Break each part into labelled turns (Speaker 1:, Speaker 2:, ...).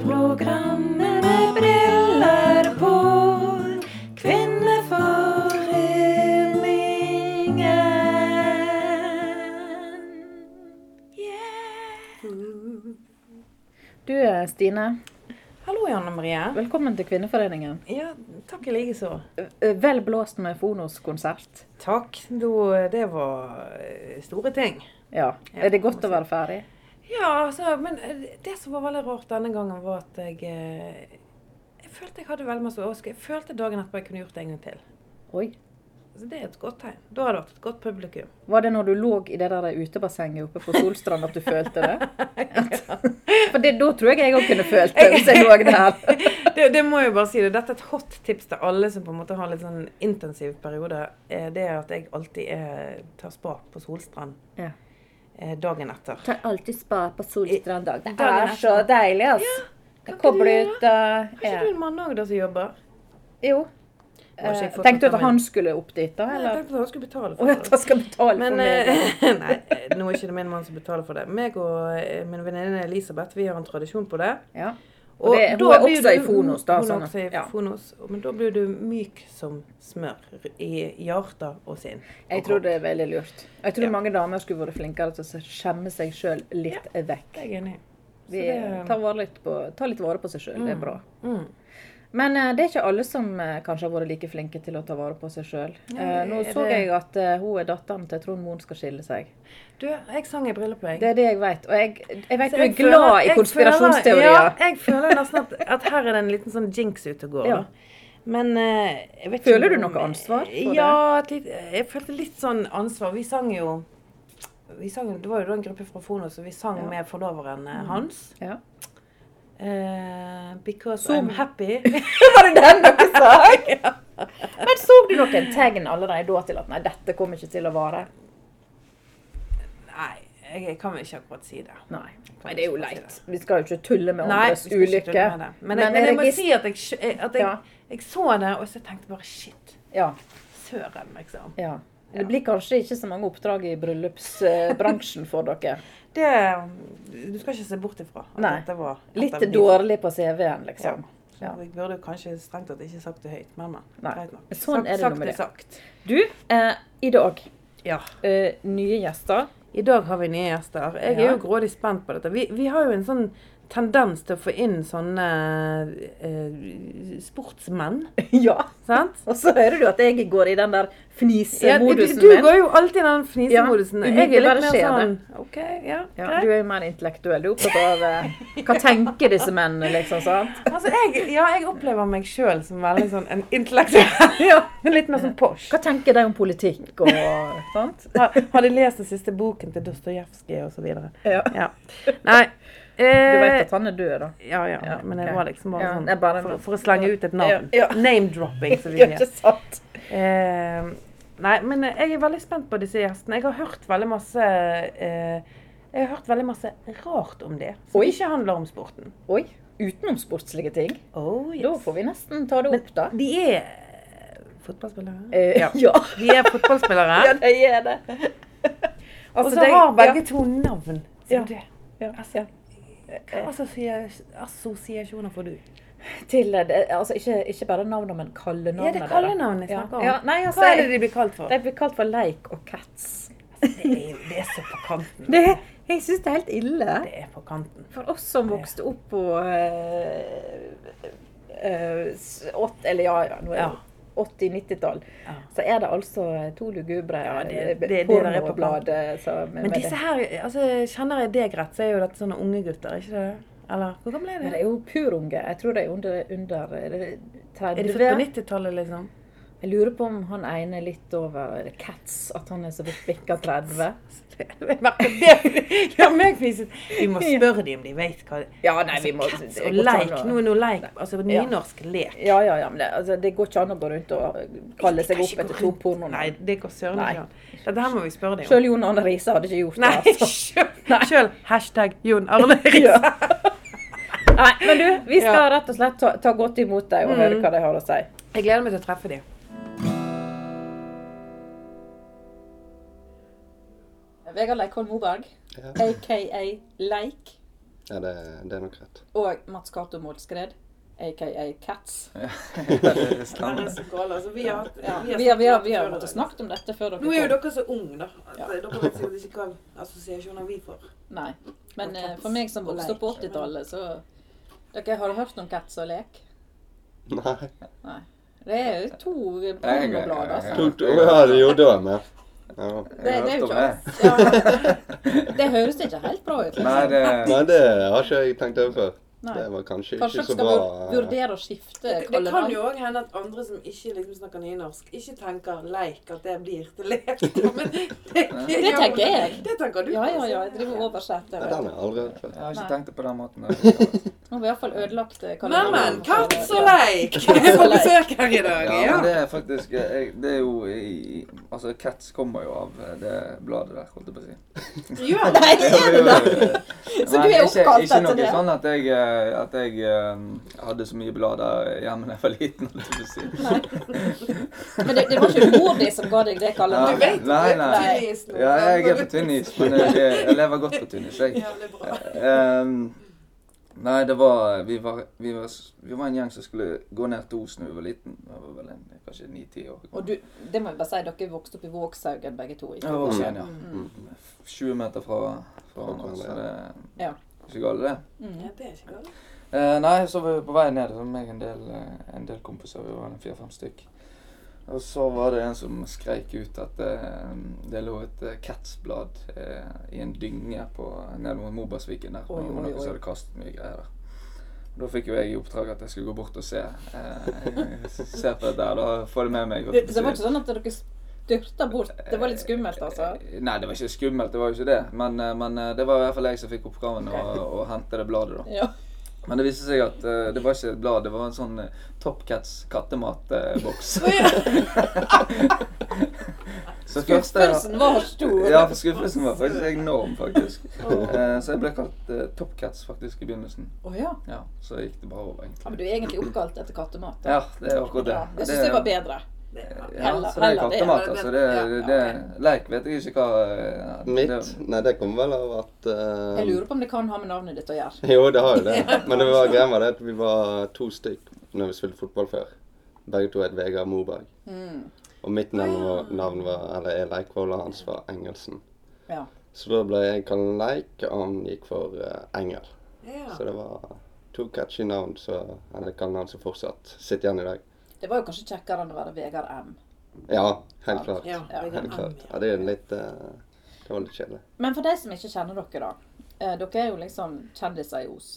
Speaker 1: Radioprogrammet med briller på. Kvinneforeningen. Yeah.
Speaker 2: Du eh, Stine,
Speaker 1: Hallo, Janne Marie.
Speaker 2: velkommen til Kvinneforeningen.
Speaker 1: Ja, takk i likeså.
Speaker 2: Eh, Vel blåst med Fonos-konsert.
Speaker 1: Takk. Da, det var eh, store ting.
Speaker 2: Ja.
Speaker 1: Ja,
Speaker 2: Er det godt å være ferdig?
Speaker 1: Ja, altså, men det som var veldig rart denne gangen, var at jeg eh, Jeg følte jeg hadde veldig masse overskudd. Jeg følte dagen etterpå jeg kunne gjort det en gang til.
Speaker 2: Oi.
Speaker 1: Så det er et godt tegn. Da har det vært et godt publikum.
Speaker 2: Var det når du lå i det der utebassenget oppe på Solstrand at du følte det? For det, da tror jeg jeg òg kunne følt det, hvis jeg lå der.
Speaker 1: det, det må jeg bare si. det. Dette er et hot tips til alle som på en måte har litt sånn intensiv periode. Eh, Det er at jeg alltid er, tar spa på Solstrand
Speaker 2: Ja.
Speaker 1: eh, dagen etter.
Speaker 2: Tar alltid spa på Solstrand dag. Det
Speaker 1: Dagen
Speaker 2: er
Speaker 1: etter.
Speaker 2: så deilig, altså.
Speaker 1: kan ikke
Speaker 2: Koble
Speaker 1: du
Speaker 2: ut uh,
Speaker 1: Har ikke du en mann òg da som jobber?
Speaker 2: Jo.
Speaker 1: Må ikke jeg
Speaker 2: Eh,
Speaker 1: få
Speaker 2: Tenkte du
Speaker 1: tatt
Speaker 2: at han skulle opp dit, da?
Speaker 1: Nei, jeg
Speaker 2: Eller?
Speaker 1: tenkte at han skulle betale
Speaker 2: Og
Speaker 1: for
Speaker 2: at han skal betale for
Speaker 1: Men
Speaker 2: meg?
Speaker 1: eh, nei, nå er ikke det min mann som betaler for det. Meg og eh, min venninne Elisabeth vi har en tradisjon på det.
Speaker 2: Ja. Og det- hun
Speaker 1: da
Speaker 2: er
Speaker 1: blir
Speaker 2: også
Speaker 1: du-
Speaker 2: i Fonos, da,
Speaker 1: Hun er
Speaker 2: sånn at-
Speaker 1: også i
Speaker 2: ja.
Speaker 1: Fonos. Men da blir du myk som smør i hjertet og sinn.
Speaker 2: Jeg
Speaker 1: Og
Speaker 2: tror
Speaker 1: kropp.
Speaker 2: det er veldig lurt. Jeg tror
Speaker 1: Ja.
Speaker 2: mange damer skulle vært flinkere til å skjemme seg sjøl litt vekk.
Speaker 1: Det er jeg enig i. Så
Speaker 2: Vi
Speaker 1: det-
Speaker 2: tar vare litt på, tar litt vare på seg sjøl, det er bra.
Speaker 1: Mm.
Speaker 2: Men eh, det er ikke alle som eh, kanskje har vært like flinke til å ta vare på seg sjøl.
Speaker 1: Nei,
Speaker 2: nå
Speaker 1: er
Speaker 2: så
Speaker 1: det-
Speaker 2: jeg at eh, hun er datteren til Trond Moen skal skille seg.
Speaker 1: Du, jeg sang i bryllupet, jeg.
Speaker 2: Det er det jeg vet. Og jeg, jeg vet
Speaker 1: Så
Speaker 2: du er
Speaker 1: jeg føler-
Speaker 2: glad i
Speaker 1: jeg
Speaker 2: konspirasjonsteorier.
Speaker 1: Føler, ja, jeg føler nesten at, at her er det en liten sånn jinx ute og går.
Speaker 2: Ja.
Speaker 1: da. Men eh, jeg vet
Speaker 2: Føler
Speaker 1: ikke
Speaker 2: du
Speaker 1: om-
Speaker 2: noe ansvar for
Speaker 1: ja, det? Ja, jeg følte litt sånn ansvar. Vi sang jo vi sang, Det var jo da en gruppe fra Fono, så vi sang
Speaker 2: Ja. Mm.
Speaker 1: med forloveren eh, hans.
Speaker 2: Ja.
Speaker 1: Eh, because
Speaker 2: Som-
Speaker 1: I'm happy.
Speaker 2: Var det den dere sa? Men så du noen tegn allerede da til at nei, dette kommer ikke til å vare?
Speaker 1: Nei, jeg, jeg kan vel ikke akkurat si det.
Speaker 2: Nei.
Speaker 1: Nei,
Speaker 2: det er jo leit. Vi skal jo ikke tulle med
Speaker 1: Nei,
Speaker 2: andres
Speaker 1: vi skal ikke
Speaker 2: ulykke.
Speaker 1: tulle med det. Men, jeg, men jeg må
Speaker 2: regist-
Speaker 1: si at jeg, skj- eh, at jeg,
Speaker 2: Ja.
Speaker 1: jeg så det, og så tenkte jeg bare shit.
Speaker 2: ja,
Speaker 1: Søren, liksom.
Speaker 2: ja. Det blir kanskje ikke så mange oppdrag i bryllupsbransjen for dere.
Speaker 1: Det, du skal ikke se bort ifra at
Speaker 2: Nei.
Speaker 1: dette var et
Speaker 2: Litt
Speaker 1: av de-
Speaker 2: dårlig på CV-en, liksom.
Speaker 1: Så
Speaker 2: Ja.
Speaker 1: Jeg burde jo kanskje strengt tatt ikke sagt det høyt, men men,
Speaker 2: Nei.
Speaker 1: greit nok.
Speaker 2: Sånn er det nå
Speaker 1: sagt,
Speaker 2: med det.
Speaker 1: sagt er
Speaker 2: Du, eh, i dag
Speaker 1: sagt. Ja.
Speaker 2: eh, nye gjester.
Speaker 1: I dag har vi nye gjester. Jeg
Speaker 2: Ja.
Speaker 1: er jo grådig spent på dette. Vi, vi har jo en sånn tendens til å få inn sånne eh, sportsmenn,
Speaker 2: ja.
Speaker 1: sant?
Speaker 2: Og så hører du at jeg går i den der
Speaker 1: Ja, du,
Speaker 2: fnisemodusen
Speaker 1: du går jo alltid i den fnisemodusen.
Speaker 2: Ja,
Speaker 1: jeg er litt
Speaker 2: umiddelbare
Speaker 1: mer
Speaker 2: skjer
Speaker 1: sånn OK, ja,
Speaker 2: Ja,
Speaker 1: greit.
Speaker 2: du er jo mer intellektuell. Du er opptatt av eh, hva tenker disse mennene, liksom. sant?
Speaker 1: Altså, jeg, ja, jeg opplever meg sjøl som veldig sånn en intellektuell.
Speaker 2: Ja.
Speaker 1: Litt mer sånn posh.
Speaker 2: Hva tenker de om politikk og sant?
Speaker 1: Har, har de lest den siste boken til Dostojevskij og så videre?
Speaker 2: Ja.
Speaker 1: Ja. Nei.
Speaker 2: Du
Speaker 1: Eh,
Speaker 2: vet at han er død, da?
Speaker 1: ja, ja,
Speaker 2: Ja,
Speaker 1: men
Speaker 2: ok.
Speaker 1: det var liksom bare
Speaker 2: Ja,
Speaker 1: sånn
Speaker 2: det er bare en-
Speaker 1: for, for å slenge ut et navn.
Speaker 2: Ja, ja.
Speaker 1: Name-dropping, som vi
Speaker 2: Eh, Ja,
Speaker 1: sier.
Speaker 2: sant?
Speaker 1: Eh, nei, men eh, jeg er veldig spent på disse gjestene. Jeg har hørt veldig masse eh, jeg har hørt veldig masse rart om det, som
Speaker 2: Oi.
Speaker 1: ikke handler om sporten.
Speaker 2: Oi. Utenomsportslige ting.
Speaker 1: Oh,
Speaker 2: Da får vi nesten ta det opp, da.
Speaker 1: De er eh, fotballspillere.
Speaker 2: Eh,
Speaker 1: Ja.
Speaker 2: ja.
Speaker 1: De er fotballspillere.
Speaker 2: ja, det er det.
Speaker 1: Og så
Speaker 2: Altså, det-
Speaker 1: har begge to navn.
Speaker 2: Ja.
Speaker 1: som det.
Speaker 2: ja,
Speaker 1: Altså, hva assosia- assosiasjoner får du?
Speaker 2: ja. Til, eh, det- altså, ikke, ikke bare navnet, men kallenavnet.
Speaker 1: Ja, det er kallenavn jeg snakker om.
Speaker 2: Ja. Ja, nei, altså,
Speaker 1: Hva er det de blir kalt for?
Speaker 2: De blir kalt for Leik og Cats.
Speaker 1: Det er, jo- det er så på kanten.
Speaker 2: Det, jeg syns det er helt ille.
Speaker 1: Det er på kanten.
Speaker 2: For oss som vokste opp på eh, eh, s- ått, Eller ja, ja, nå er
Speaker 1: Ja.
Speaker 2: det 80-90-tall.
Speaker 1: Ja.
Speaker 2: Så er det altså to lugubre eh,
Speaker 1: Ja, det- det- det der er på
Speaker 2: pornoblader som
Speaker 1: Men disse her, altså, kjenner jeg deg rett, så er jo dette sånne unge gutter, ikke det? Eller hvor gamle er
Speaker 2: Men
Speaker 1: de?
Speaker 2: det er jo purunge. Jeg tror de er under, under er det
Speaker 1: Er de født på
Speaker 2: 30.
Speaker 1: 90-tallet, liksom?
Speaker 2: Jeg lurer på om han ene er litt over er det Cats, at han er så vidt bikka 30.
Speaker 1: Jeg merker det gjør meg fniset. Vi må spørre dem om de vet hva
Speaker 2: Ja, nei, vi må
Speaker 1: Altså, Cats og
Speaker 2: det går ikke an
Speaker 1: leik.
Speaker 2: å-
Speaker 1: Nå er noe leik. Altså nynorsk lek.
Speaker 2: Ja, ja, ja, men det, altså, det går ikke an å gå rundt og kalle seg opp etter to
Speaker 1: Nei,
Speaker 2: pornoer.
Speaker 1: det går søren
Speaker 2: Nei.
Speaker 1: ikke an. Dette her må vi spørre dem om.
Speaker 2: Sjøl Jon Arne Riise hadde ikke gjort det.
Speaker 1: Nei,
Speaker 2: altså. Nei.
Speaker 1: sjøl hashtag Jon Arne Riise.
Speaker 2: Ja. Nei, men du, vi skal rett og slett ta, ta godt imot deg og høre hva de har å si.
Speaker 1: Jeg gleder meg til å treffe dem.
Speaker 2: Vegard Leikholm Moberg,
Speaker 3: Ja.
Speaker 2: aka Leik.
Speaker 3: Ja, det, det er nok rett.
Speaker 2: Og Mats Cato Målskred, aka Cats.
Speaker 3: det stemmer.
Speaker 1: Altså, vi har,
Speaker 2: Ja. Vi har, vi har, vi har måttet snakket om dette før dere
Speaker 1: Nå er jo
Speaker 2: kom.
Speaker 1: dere så unge, da. at
Speaker 2: Ja.
Speaker 1: Dere vet sikkert ikke hva assosiasjoner vi får.
Speaker 2: Nei. Men
Speaker 1: Og
Speaker 2: eh,
Speaker 1: Cats
Speaker 2: for meg som
Speaker 1: og
Speaker 2: vokste opp på
Speaker 1: leker.
Speaker 2: 80-tallet, så Dere har hørt om Cats og lek?
Speaker 3: Nei.
Speaker 2: Nei. Det er jo to
Speaker 4: Jeg- jeg-
Speaker 2: pornoblader, altså.
Speaker 3: Tok du Ja, du gjorde det med. Ja.
Speaker 2: Det, det er jo ikke
Speaker 4: det.
Speaker 2: oss. Ja. Det høres ikke helt bra ut. liksom.
Speaker 4: Nei, det
Speaker 3: Nei, det har ikke jeg tenkt over før.
Speaker 2: Nei.
Speaker 3: Det var
Speaker 2: Kanskje
Speaker 3: kanskje ikke
Speaker 2: dere
Speaker 3: så
Speaker 2: skal
Speaker 3: bra.
Speaker 2: vur- vurdere å skifte
Speaker 1: Det, det kan
Speaker 2: kallenavn?
Speaker 1: jo òg hende at andre som ikke liksom snakker nynorsk, ikke tenker leik at det blir til lek. Men det,
Speaker 2: Det tenker jeg.
Speaker 1: Det tenker du.
Speaker 2: Ja, ja, ja. Jeg driver og oversetter.
Speaker 3: Nei, den har jeg aldri hørt før.
Speaker 4: Jeg har
Speaker 2: Nei.
Speaker 4: ikke tenkt det på den måten. der.
Speaker 2: Nå har vi iallfall ødelagt eh,
Speaker 1: Neimen,
Speaker 2: kallenavnet.
Speaker 1: katt og leik! Jeg
Speaker 2: og
Speaker 1: får
Speaker 2: leik.
Speaker 1: besøk her i dag.
Speaker 4: Ja,
Speaker 1: Ja.
Speaker 4: men det er faktisk eh, jeg, Det er jo i Altså, Cats kommer jo av eh, det bladet der, holdt jeg på å si.
Speaker 1: Gjør det.
Speaker 2: Nei, er det det? Så
Speaker 4: Nei,
Speaker 2: du er
Speaker 4: ikke-
Speaker 2: oppkalt
Speaker 4: Ikke
Speaker 2: etter
Speaker 4: noe
Speaker 2: det?
Speaker 4: sånn at jeg, eh, at jeg eh, hadde så mye blader hjemme da jeg var liten, holdt jeg på å si.
Speaker 2: Nei. Men det, det var ikke mor di som ga deg det
Speaker 1: Du
Speaker 4: Nei,
Speaker 1: vet
Speaker 2: kallenavnet?
Speaker 1: at det
Speaker 4: nei,
Speaker 1: er
Speaker 4: nei.
Speaker 1: tynnis nå.
Speaker 4: Ja, jeg er på tynn is, men jeg, jeg lever godt på tynn is, jeg.
Speaker 1: Jævlig bra.
Speaker 4: Ehm, nei, det var vi, var vi var s- Vi var en gjeng som skulle gå ned til Osen da vi var liten. Jeg var vel en, kanskje ni-ti år.
Speaker 2: Og du, det må jeg bare si, dere vokste opp i Vågshaugen begge to. ikke?
Speaker 4: Ja, og Skien, ja.
Speaker 2: Mm.
Speaker 4: 20 meter fra, fra hverandre, så det
Speaker 2: Ja.
Speaker 4: ikke galt, det.
Speaker 2: Mm.
Speaker 1: Ja, det er ikke galt.
Speaker 4: Eh, nei, så var vi på vei ned. Det var meg og en del, eh, en del kompiser. Vi var en fire-fem stykk. Og så var det en som skreik ut at eh, det lå et eh, Cats-blad eh, i en dynge på, nede mot Mobasviken der.
Speaker 2: Oi,
Speaker 4: og
Speaker 2: oi,
Speaker 4: noen
Speaker 2: oi.
Speaker 4: som hadde kastet mye greier der. Og Da fikk jo jeg i oppdrag at jeg skulle gå bort og se. Eh, se på dette her, da får det med meg.
Speaker 2: Det, så det var ikke sånn at dere styrta bort? Det var litt skummelt, altså?
Speaker 4: Eh, Nei, det var ikke skummelt, det var jo ikke det. Men, eh, men eh, det var i hvert fall jeg som fikk oppgaven å, å hente det bladet, da.
Speaker 2: Ja.
Speaker 4: Men det viste seg at eh, det var ikke et blad, det var en sånn eh, Top Cats kattematboks. Så første-
Speaker 2: Skuffelsen var stor.
Speaker 4: Ja, for skuffelsen var faktisk enorm, faktisk. Eh, så jeg ble kalt eh, Top Cats faktisk i begynnelsen.
Speaker 2: Å ja.
Speaker 4: Ja, Så gikk det bare over, egentlig.
Speaker 2: ja. Men du er egentlig oppkalt etter kattemat? da.
Speaker 4: Ja, det er akkurat det.
Speaker 2: Ja, det syns jeg var bedre.
Speaker 1: Det er bra.
Speaker 4: Ja,
Speaker 2: Heller-
Speaker 4: så det er
Speaker 2: heller det.
Speaker 4: kattemat, altså. Det,
Speaker 1: Ja,
Speaker 4: det, det Leik vet jeg ikke hva eh,
Speaker 3: Mitt? Nei, det kommer vel av at eh,
Speaker 2: Jeg
Speaker 4: Mm.
Speaker 2: lurer på om det kan ha med navnet ditt å gjøre.
Speaker 3: Jo, det har jo det. Men det var greia med det at vi var to stykk når vi spilte fotball før. Begge to het Vegard Moberg.
Speaker 2: Mm.
Speaker 3: Og mitt navn var, navn var eller er Leikvoll, og hans var Engelsen.
Speaker 2: Ja.
Speaker 3: Så da ble jeg kalt Leik, og han gikk for eh, Engel.
Speaker 1: Ja.
Speaker 3: Så det var to catchy navn, så, eller kallenavn som fortsatt sitter igjen i dag.
Speaker 2: Det var jo kanskje kjekkere enn å være Vegard M.
Speaker 3: Ja, helt klart.
Speaker 1: Ja, jeg er
Speaker 3: Helt
Speaker 1: en
Speaker 3: klart. Ja, det er litt eh, Det var litt kjedelig.
Speaker 2: Men for de som ikke kjenner dere, da. eh, Dere er jo liksom kjendiser i Os.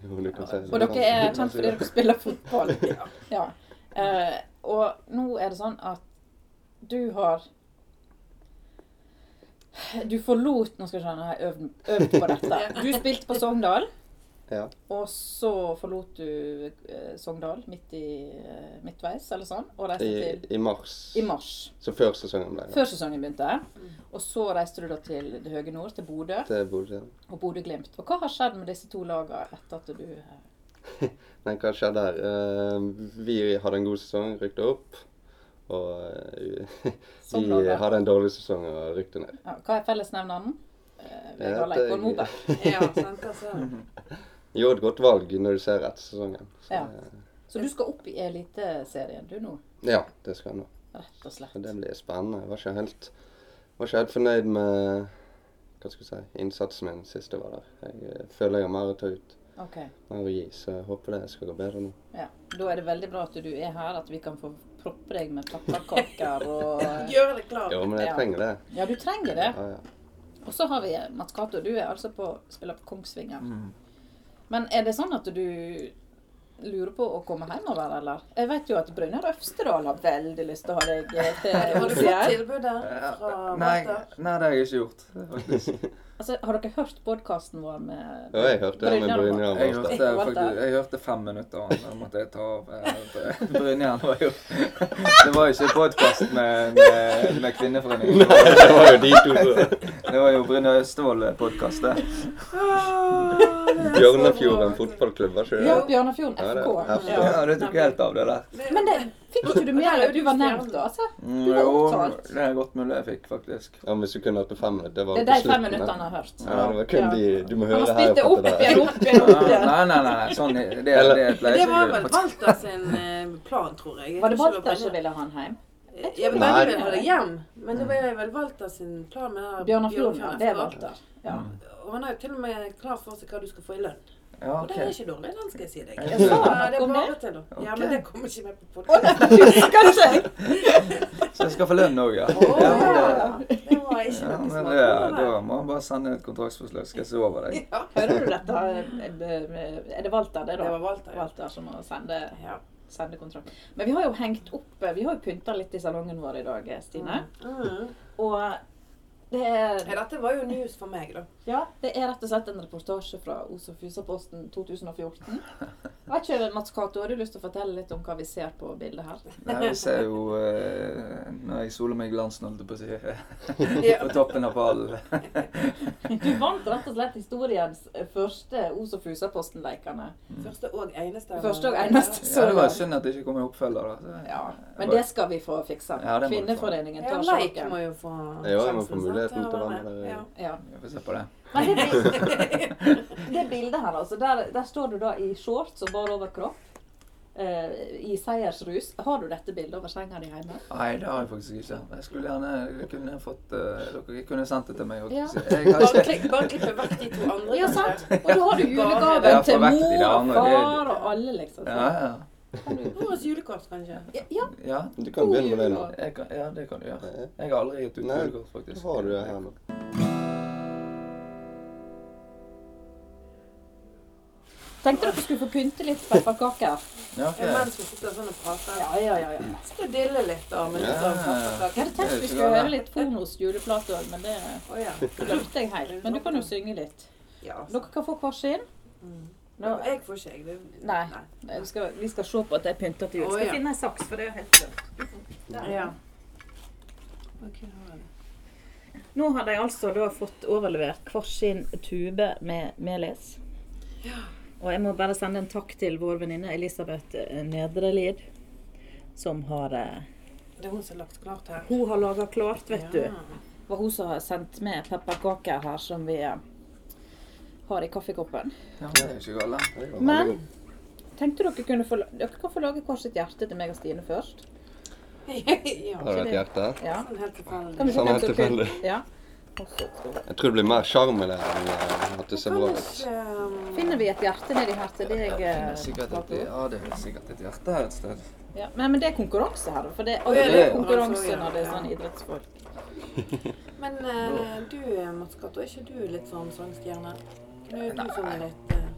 Speaker 3: Jo, du kan si det.
Speaker 2: Og dere
Speaker 3: Sånn.
Speaker 2: er kjent fordi dere spiller fotball. Ja. Eh, og nå er det sånn at du har Du forlot Nå skal jeg skjønne, jeg har øvd, øvd på dette. Du spilte på Sogndal,
Speaker 3: Ja.
Speaker 2: og så forlot du eh, Sogndal midt i eh, midtveis, eller sånn, og reiste
Speaker 3: I,
Speaker 2: til
Speaker 3: I mars.
Speaker 2: I mars.
Speaker 3: Så før sesongen ble det.
Speaker 2: Før sesongen begynte. Og så reiste du da til det høye nord, til Bodø
Speaker 3: Til Bodø.
Speaker 2: og Bodø-Glimt. Og hva har skjedd med disse to lagene etter at du eh,
Speaker 3: Nei, hva skjedde der? Eh, vi hadde en god sesong, rykket opp. Og eh,
Speaker 2: Sånn
Speaker 3: de
Speaker 2: var det.
Speaker 3: hadde en dårlig sesong og rykket ned.
Speaker 2: Ja, hva er fellesnevneren? Eh,
Speaker 3: Det er
Speaker 2: Vegard
Speaker 3: at
Speaker 2: Leikvoll
Speaker 3: jeg-
Speaker 2: Moberg.
Speaker 1: Ja, sant, altså.
Speaker 3: Gjorde et godt valg når du ser etter sesongen. Så,
Speaker 2: Ja.
Speaker 3: eh,
Speaker 2: Så du skal opp i Eliteserien du nå,
Speaker 3: ja, det skal jeg nå.
Speaker 2: rett og slett.
Speaker 3: Så det blir spennende. Jeg var ikke helt, var ikke helt fornøyd med hva skal jeg si, innsatsen min sist jeg var der. Jeg eh, føler jeg har mer å ta ut.
Speaker 2: Ok,
Speaker 3: Mer å gi, så jeg håper det skal gå bedre nå.
Speaker 2: ja. Da er det veldig bra at du er her, at vi kan få proppe deg med pepperkaker og
Speaker 1: Gjør det klart.
Speaker 3: Jo, men jeg
Speaker 2: Ja.
Speaker 3: trenger det.
Speaker 2: Ja, du trenger det.
Speaker 3: Ja, ja.
Speaker 2: Og så har vi Mats Cato. Du er altså på, spiller på Kongsvinger.
Speaker 4: Mm.
Speaker 2: Men er det sånn at du lurer på å komme hjemover, eller? Jeg vet jo at Brynjar Øvstedal har veldig lyst til å ha deg eh, til
Speaker 1: Har du fått
Speaker 2: OCR.
Speaker 1: tilbudet fra Ah,
Speaker 4: Nei,
Speaker 1: Walter?
Speaker 4: nei, det har jeg ikke gjort. faktisk.
Speaker 2: Altså, har dere hørt podkasten vår med
Speaker 3: Jo, jeg hørte det med
Speaker 2: og
Speaker 3: Brynjar.
Speaker 4: Jeg
Speaker 3: Marstad.
Speaker 4: hørte, faktisk, jeg hørte fem minutter av den. Da måtte jeg ta av. eh, Brynjar var jo Det var jo ikke podkast med, med, med Kvinneforeningen.
Speaker 3: Nei, det var jo de to som
Speaker 4: eh, Det var jo Brynjar Østvold-podkast, det.
Speaker 1: Ah.
Speaker 3: Bjørnefjorden fotballklubb, var ikke det?
Speaker 2: Ja, Bjørnafjorden
Speaker 3: Ja, det-
Speaker 2: FK.
Speaker 3: FK.
Speaker 4: Ja, det tok helt av, det der.
Speaker 2: Men det fikk ikke du med deg? Du var nevnt da, altså.
Speaker 4: Mm,
Speaker 2: Du var
Speaker 4: jo,
Speaker 2: opptalt.
Speaker 4: det er godt mulig jeg fikk, faktisk.
Speaker 3: Ja, men Hvis du kunne hatt det fem minutter, det var
Speaker 2: Det er
Speaker 3: jo på
Speaker 2: de fem
Speaker 3: slutten.
Speaker 2: minuttene
Speaker 3: ja.
Speaker 2: han har hørt.
Speaker 3: Ja, det var kun de Du må
Speaker 1: Han
Speaker 3: høre
Speaker 1: har
Speaker 3: her
Speaker 1: spilt det
Speaker 3: opp
Speaker 1: opp
Speaker 3: etter
Speaker 1: igjen,
Speaker 3: der.
Speaker 1: opp igjen,
Speaker 4: Nei,
Speaker 1: opp igjen.
Speaker 4: Ah, nei, nei. nei sånn, det, det,
Speaker 3: Eller-
Speaker 4: det pleier
Speaker 1: Det
Speaker 4: ikke
Speaker 1: var
Speaker 4: jeg å
Speaker 1: vel
Speaker 4: gjøre.
Speaker 1: Walter sin eh, plan, tror jeg. jeg.
Speaker 2: Var det
Speaker 1: tror ikke
Speaker 2: Walter som
Speaker 1: var
Speaker 2: ville ha han hjem?
Speaker 1: Benny. Ja, men
Speaker 3: Nei.
Speaker 1: Benny ville ha det hjem. Men det var vel Walter sin plan med det her
Speaker 2: Bjørnafjorden, ja. Det er
Speaker 1: FK.
Speaker 2: Walter. Ja.
Speaker 1: Og han er jo til og med klar for seg hva du skal få i lønn.
Speaker 4: Ja,
Speaker 1: Og det er
Speaker 4: ok.
Speaker 1: ikke dårlig, den skal jeg si deg.
Speaker 4: Ja, sa han
Speaker 1: Ja, det
Speaker 2: noe om
Speaker 1: var
Speaker 2: det?
Speaker 1: til da. Ja, men
Speaker 4: Ok.
Speaker 1: det kommer ikke med på podkasten.
Speaker 2: Husker ikke jeg!
Speaker 4: Så jeg skal få lønn òg, ja.
Speaker 1: Å
Speaker 4: Ja, men det-
Speaker 1: ja! Det var ikke
Speaker 4: Ja,
Speaker 1: noe
Speaker 4: men
Speaker 1: smart.
Speaker 4: det,
Speaker 1: ord, det.
Speaker 4: da må han bare sende et kontraktsforslag, skal jeg se over deg.
Speaker 1: Ja,
Speaker 2: Hører du dette? eh, Er det Walter det, da?
Speaker 1: Det var Walter, ja.
Speaker 2: Walter som må sende,
Speaker 1: ja.
Speaker 2: sende kontrakt. Men vi har jo hengt opp eh, Vi har jo pynta litt i salongen vår i dag, eh, Stine.
Speaker 1: Mm.
Speaker 2: Og det
Speaker 1: Ja,
Speaker 2: er,
Speaker 1: dette var jo news for meg, da.
Speaker 2: ja, det er rett og slett en reportasje fra Os og Fusa-posten 2014. Vet ikke, Mats Cato, har du lyst til å fortelle litt om hva vi ser på bildet her?
Speaker 4: Nei, vi ser jo eh, Når jeg soler meg i glansen, holdt jeg på å si.
Speaker 1: Ja.
Speaker 4: På toppen av pallen.
Speaker 2: Du vant rett og slett historiens eh, første Os og Fusa-posten-lekene.
Speaker 1: Første og eneste.
Speaker 2: Første og eneste.
Speaker 4: Ja, det var synd at det ikke kom en oppfølger. da.
Speaker 2: Ja, men det skal vi få fiksa.
Speaker 4: Ja, det må vi få.
Speaker 2: Kvinneforeningen
Speaker 1: Ja,
Speaker 2: tar
Speaker 1: Leik
Speaker 2: saken.
Speaker 1: må jo få
Speaker 3: Ja, jeg må
Speaker 1: sjansen,
Speaker 3: få muligheten
Speaker 1: sant?
Speaker 3: til å
Speaker 1: Ja,
Speaker 3: være med der. eh,
Speaker 1: Ja.
Speaker 2: Ja.
Speaker 4: Vi får se på det.
Speaker 2: Men det, det bildet her, altså. Der, der står du da i shorts og bar overkropp. eh, I seiersrus. Har du dette bildet over senga di hjemme?
Speaker 4: Nei, det har jeg faktisk ikke. Jeg skulle gjerne jeg kunne fått eh, Dere kunne sendt det til meg. holdt
Speaker 2: Ja.
Speaker 4: Jeg, på å
Speaker 1: Bare
Speaker 4: si. jeg har ikke
Speaker 1: klipp, bare klippe vekk de to andre.
Speaker 2: Ja, sant? Og da har du
Speaker 4: Ja,
Speaker 2: julegaven
Speaker 4: for
Speaker 2: til
Speaker 4: vekk i det
Speaker 2: mor og
Speaker 4: andre,
Speaker 2: far
Speaker 4: det-
Speaker 2: og alle, liksom.
Speaker 4: ja,
Speaker 2: sant?
Speaker 4: ja.
Speaker 1: Årets julekort, kanskje.
Speaker 2: Ja, ja.
Speaker 4: Ja,
Speaker 3: Du kan begynne med det
Speaker 2: Oh.
Speaker 3: nå.
Speaker 4: jeg kan, ja, det kan du gjøre.
Speaker 3: Nei.
Speaker 4: Jeg har aldri gitt ut
Speaker 3: Nei,
Speaker 4: julekort, faktisk.
Speaker 3: Hva har du her nå?
Speaker 2: Tenkte dere skulle få pynte litt pepperkaker.
Speaker 4: Ja,
Speaker 1: Ja,
Speaker 4: ok.
Speaker 1: Mens vi sitter sånn og prater.
Speaker 2: Ja, ja, ja, ja.
Speaker 1: Skal dille litt, da. Men
Speaker 3: Ja.
Speaker 1: sånn, pepperkaker.
Speaker 2: Jeg hadde
Speaker 4: Det
Speaker 2: tenkt
Speaker 4: er
Speaker 2: vi
Speaker 4: ikke
Speaker 2: skulle
Speaker 4: galt.
Speaker 2: høre litt Fonos juleplate òg, men det
Speaker 1: Å ja.
Speaker 2: glemte jeg helt. Men du kan jo synge litt.
Speaker 1: ja altså.
Speaker 2: Dere kan få hver sin. Nå,
Speaker 1: Nå- Jeg får ikke, jeg. Det-
Speaker 2: Nei. jeg skal, vi skal se på at det er pynta til jul.
Speaker 1: Å,
Speaker 2: Skal
Speaker 1: ja.
Speaker 2: finne en saks, for det er jo helt glemt.
Speaker 1: Ja. Ok, da var det.
Speaker 2: Nå har de altså da fått overlevert hver sin tube med melis. Og jeg må bare sende en takk til vår venninne Elisabeth eh, Nedrelid, som har eh,
Speaker 1: Det er hun som har lagt klart her.
Speaker 2: Hun har laga klart, vet
Speaker 1: Ja.
Speaker 2: du. Det var hun som har sendt med pepperkaker her, som vi eh, har i kaffekoppen.
Speaker 4: Ja, det er ikke galt. da.
Speaker 3: Det var
Speaker 2: Men-
Speaker 3: veldig god.
Speaker 2: Tenkte dere kunne få Dere kan få lage hvert sitt hjerte til meg og Stine først.
Speaker 1: ja.
Speaker 3: Har du et hjerte?
Speaker 2: Ja.
Speaker 1: Sånn helt tilfeldig.
Speaker 2: Kan vi se
Speaker 3: Sånn
Speaker 2: hvem
Speaker 3: helt
Speaker 2: som kunne-
Speaker 3: tilfeldig.
Speaker 2: Ja.
Speaker 3: Jeg tror det blir mer sjarm i det enn eh, at det ser bra ut.
Speaker 1: Kanskje, um,
Speaker 2: Finner vi et hjerte nedi her til deg?
Speaker 4: Det
Speaker 2: eh,
Speaker 4: er sikkert et,
Speaker 2: Cato?
Speaker 4: ja, det er sikkert et hjerte her et sted.
Speaker 2: Ja, men, men det er konkurranse her, da, for det,
Speaker 1: Å,
Speaker 4: ja,
Speaker 2: det er
Speaker 4: det-
Speaker 2: konkurranse
Speaker 1: Ja.
Speaker 2: når det er sånn idrettsfolk.
Speaker 1: Men eh, du, Mats Kato, er ikke du litt sånn sangstjerne? Kunne jo du sunget litt eh,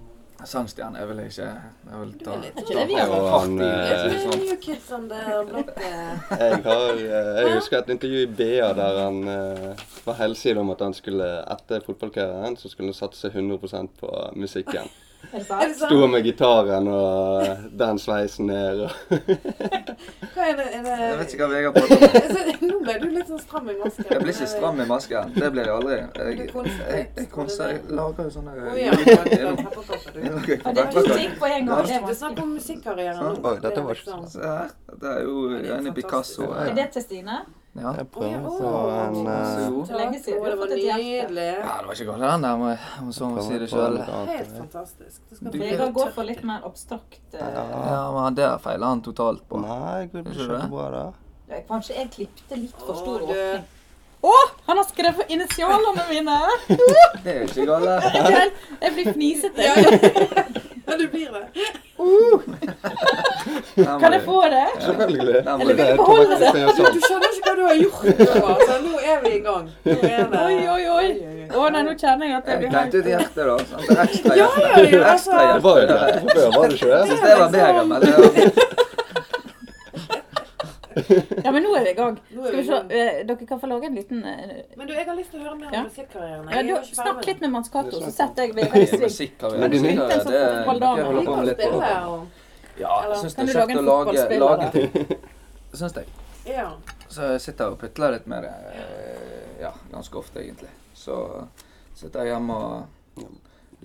Speaker 4: Sangstjerne er vel ikke Jeg vil ta
Speaker 1: Du er litt-
Speaker 4: ta
Speaker 1: Er ikke det vi
Speaker 4: hardt
Speaker 2: gjør?
Speaker 4: i
Speaker 3: Han,
Speaker 4: det,
Speaker 3: eh,
Speaker 4: ikke sant?
Speaker 1: New Kids on the Block. eh.
Speaker 3: Jeg, har, eh, jeg husker et intervju i BA der han eh, var helsig om at han skulle etter fotballkarrieren så skulle han satse 100 på musikken.
Speaker 1: Er det
Speaker 3: Sto
Speaker 1: sant?
Speaker 3: med gitaren og eh, den sveisen ned og
Speaker 1: Hva er det? Er det...
Speaker 4: Jeg vet ikke hva Vegard prater om.
Speaker 1: Altså, Nå ble du litt sånn stram i masken.
Speaker 4: Jeg blir ikke stram i masken. Det blir jeg aldri. Jeg,
Speaker 1: Du konser-
Speaker 4: jeg, jeg, konser, jeg lager jo sånne
Speaker 1: Å ja, det var pepperkaker, du.
Speaker 4: Jeg lager
Speaker 2: Ja, det er to
Speaker 4: pepperkaker.
Speaker 2: ting på en gang. Det er
Speaker 1: Du
Speaker 2: vanskelig.
Speaker 1: snakker om musikkarrieren
Speaker 4: Sånn.
Speaker 1: nå.
Speaker 3: Oi, dette var
Speaker 1: Det er liksom-
Speaker 4: Se her. Det er jo en Picasso.
Speaker 2: Er
Speaker 4: her.
Speaker 2: det til Stine?
Speaker 4: Ja.
Speaker 3: Jeg
Speaker 1: prøver på en, eh,
Speaker 4: Så eh, jo.
Speaker 2: Så lenge siden.
Speaker 1: Å, Det
Speaker 2: Vi har
Speaker 1: var
Speaker 2: fått et hjerte.
Speaker 1: nydelig.
Speaker 4: Ja, det var ikke galt den der, må jeg-
Speaker 2: Sånn
Speaker 4: om så må si det sjøl.
Speaker 1: Helt fantastisk. Du skal
Speaker 4: Du-
Speaker 1: få
Speaker 2: Vegard går for litt mer abstrakt. eh,
Speaker 4: Ja, men han der feiler han totalt på.
Speaker 3: Nei, gud,
Speaker 4: det er ikke så
Speaker 3: bra, da.
Speaker 2: jeg- Kanskje jeg klippte litt for stor
Speaker 1: Å, du.
Speaker 2: åpning. Å! Han har skrevet initialene mine!
Speaker 4: Det er jo ikke galt. det.
Speaker 2: Jeg jeg blir fnisete.
Speaker 1: Ja, du blir det.
Speaker 4: Den
Speaker 2: Kan
Speaker 4: må
Speaker 2: jeg
Speaker 4: du-
Speaker 2: få det?
Speaker 3: Selvfølgelig.
Speaker 4: den må
Speaker 2: Eller
Speaker 4: du-
Speaker 2: vil du beholde det?
Speaker 1: Du,
Speaker 3: sånn.
Speaker 1: du skjønner ikke hva du har gjort nå. Altså, nå er vi i gang. Nå er det...
Speaker 2: Oi, oi, oi. Å nei, nå kjenner jeg at jeg
Speaker 4: Jeg
Speaker 2: blir
Speaker 4: klente
Speaker 2: helt
Speaker 4: ut hjertet, da. sant? Det er Ekstra
Speaker 1: Ja,
Speaker 4: hjerte.
Speaker 1: ja, ja, altså.
Speaker 4: Ekstra
Speaker 3: Det
Speaker 4: hjerte.
Speaker 3: var jo det fra før, var det ikke
Speaker 4: Jeg synes
Speaker 3: det?
Speaker 4: det var bedre, men det var
Speaker 2: Ja, men nå er vi i gang.
Speaker 1: Nå
Speaker 2: Skal
Speaker 1: er vi
Speaker 2: vi
Speaker 1: i
Speaker 2: se.
Speaker 1: gang.
Speaker 2: eh, Dere kan få lage en liten eh,
Speaker 1: Men du, jeg har lyst til å høre mer
Speaker 2: Ja.
Speaker 1: om musikkarrieren.
Speaker 2: ja,
Speaker 1: Jeg er
Speaker 2: du,
Speaker 1: jo ikke
Speaker 2: Snakk
Speaker 1: ferdig.
Speaker 2: litt med Mans Cato, så
Speaker 3: Det
Speaker 2: setter jeg Vegard i
Speaker 4: Det er
Speaker 2: sving.
Speaker 4: musikk har vi
Speaker 3: Men du
Speaker 4: det,
Speaker 3: nyter
Speaker 2: en sånn
Speaker 4: det,
Speaker 2: fotballdame.
Speaker 4: jeg holder på med
Speaker 1: Kan
Speaker 4: litt
Speaker 1: spille,
Speaker 4: på.
Speaker 1: og...
Speaker 4: Ja, jeg syns det
Speaker 2: Kan
Speaker 4: er
Speaker 2: du lage
Speaker 4: kjekt å
Speaker 2: en
Speaker 4: lage,
Speaker 2: fotballspiller?
Speaker 4: lage
Speaker 2: da?
Speaker 4: Syns jeg.
Speaker 1: Ja.
Speaker 4: Så jeg sitter og putler litt med det eh, ja, ganske ofte, egentlig. Så sitter jeg hjemme og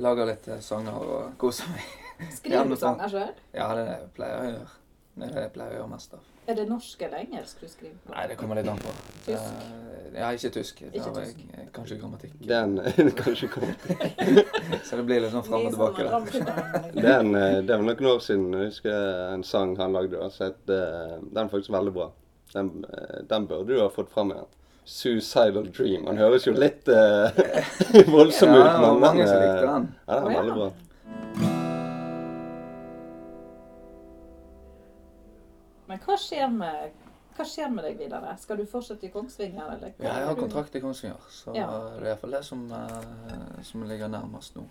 Speaker 4: lager litt eh, sanger og koser meg. sånn.
Speaker 2: Skriver du sanger sjøl?
Speaker 4: Ja, det pleier jeg å gjøre. Det er det jeg pleier å gjøre mest av.
Speaker 2: Er det norsk eller engelsk du skriver på?
Speaker 4: Nei, det kommer litt an på.
Speaker 2: Tysk?
Speaker 4: Eh, Ja, ikke tysk. Det
Speaker 2: Ikke
Speaker 4: har
Speaker 2: tysk.
Speaker 4: jeg eh, kanskje grammatikk.
Speaker 3: Den er kanskje kommet.
Speaker 4: Så det blir litt sånn fram og tilbake. da.
Speaker 3: Den, eh, det er vel noen år siden jeg husker en sang han lagde. da, Så het, eh, den er faktisk veldig bra. Den, eh, den burde du ha fått fram igjen. 'Suicidal Dream'. Han høres jo litt eh, voldsom
Speaker 4: Ja,
Speaker 3: ut,
Speaker 4: det var
Speaker 3: men
Speaker 4: mange som
Speaker 3: eh,
Speaker 4: likte den.
Speaker 3: Ja, den er veldig bra.
Speaker 2: Men hva skjer med, hva skjer med deg videre? Skal du fortsette i Kongsvinger, eller? hva
Speaker 4: Ja, jeg har
Speaker 2: gjør du?
Speaker 4: kontrakt i Kongsvinger, så det
Speaker 2: Ja.
Speaker 4: er iallfall det som, eh, som ligger nærmest nå.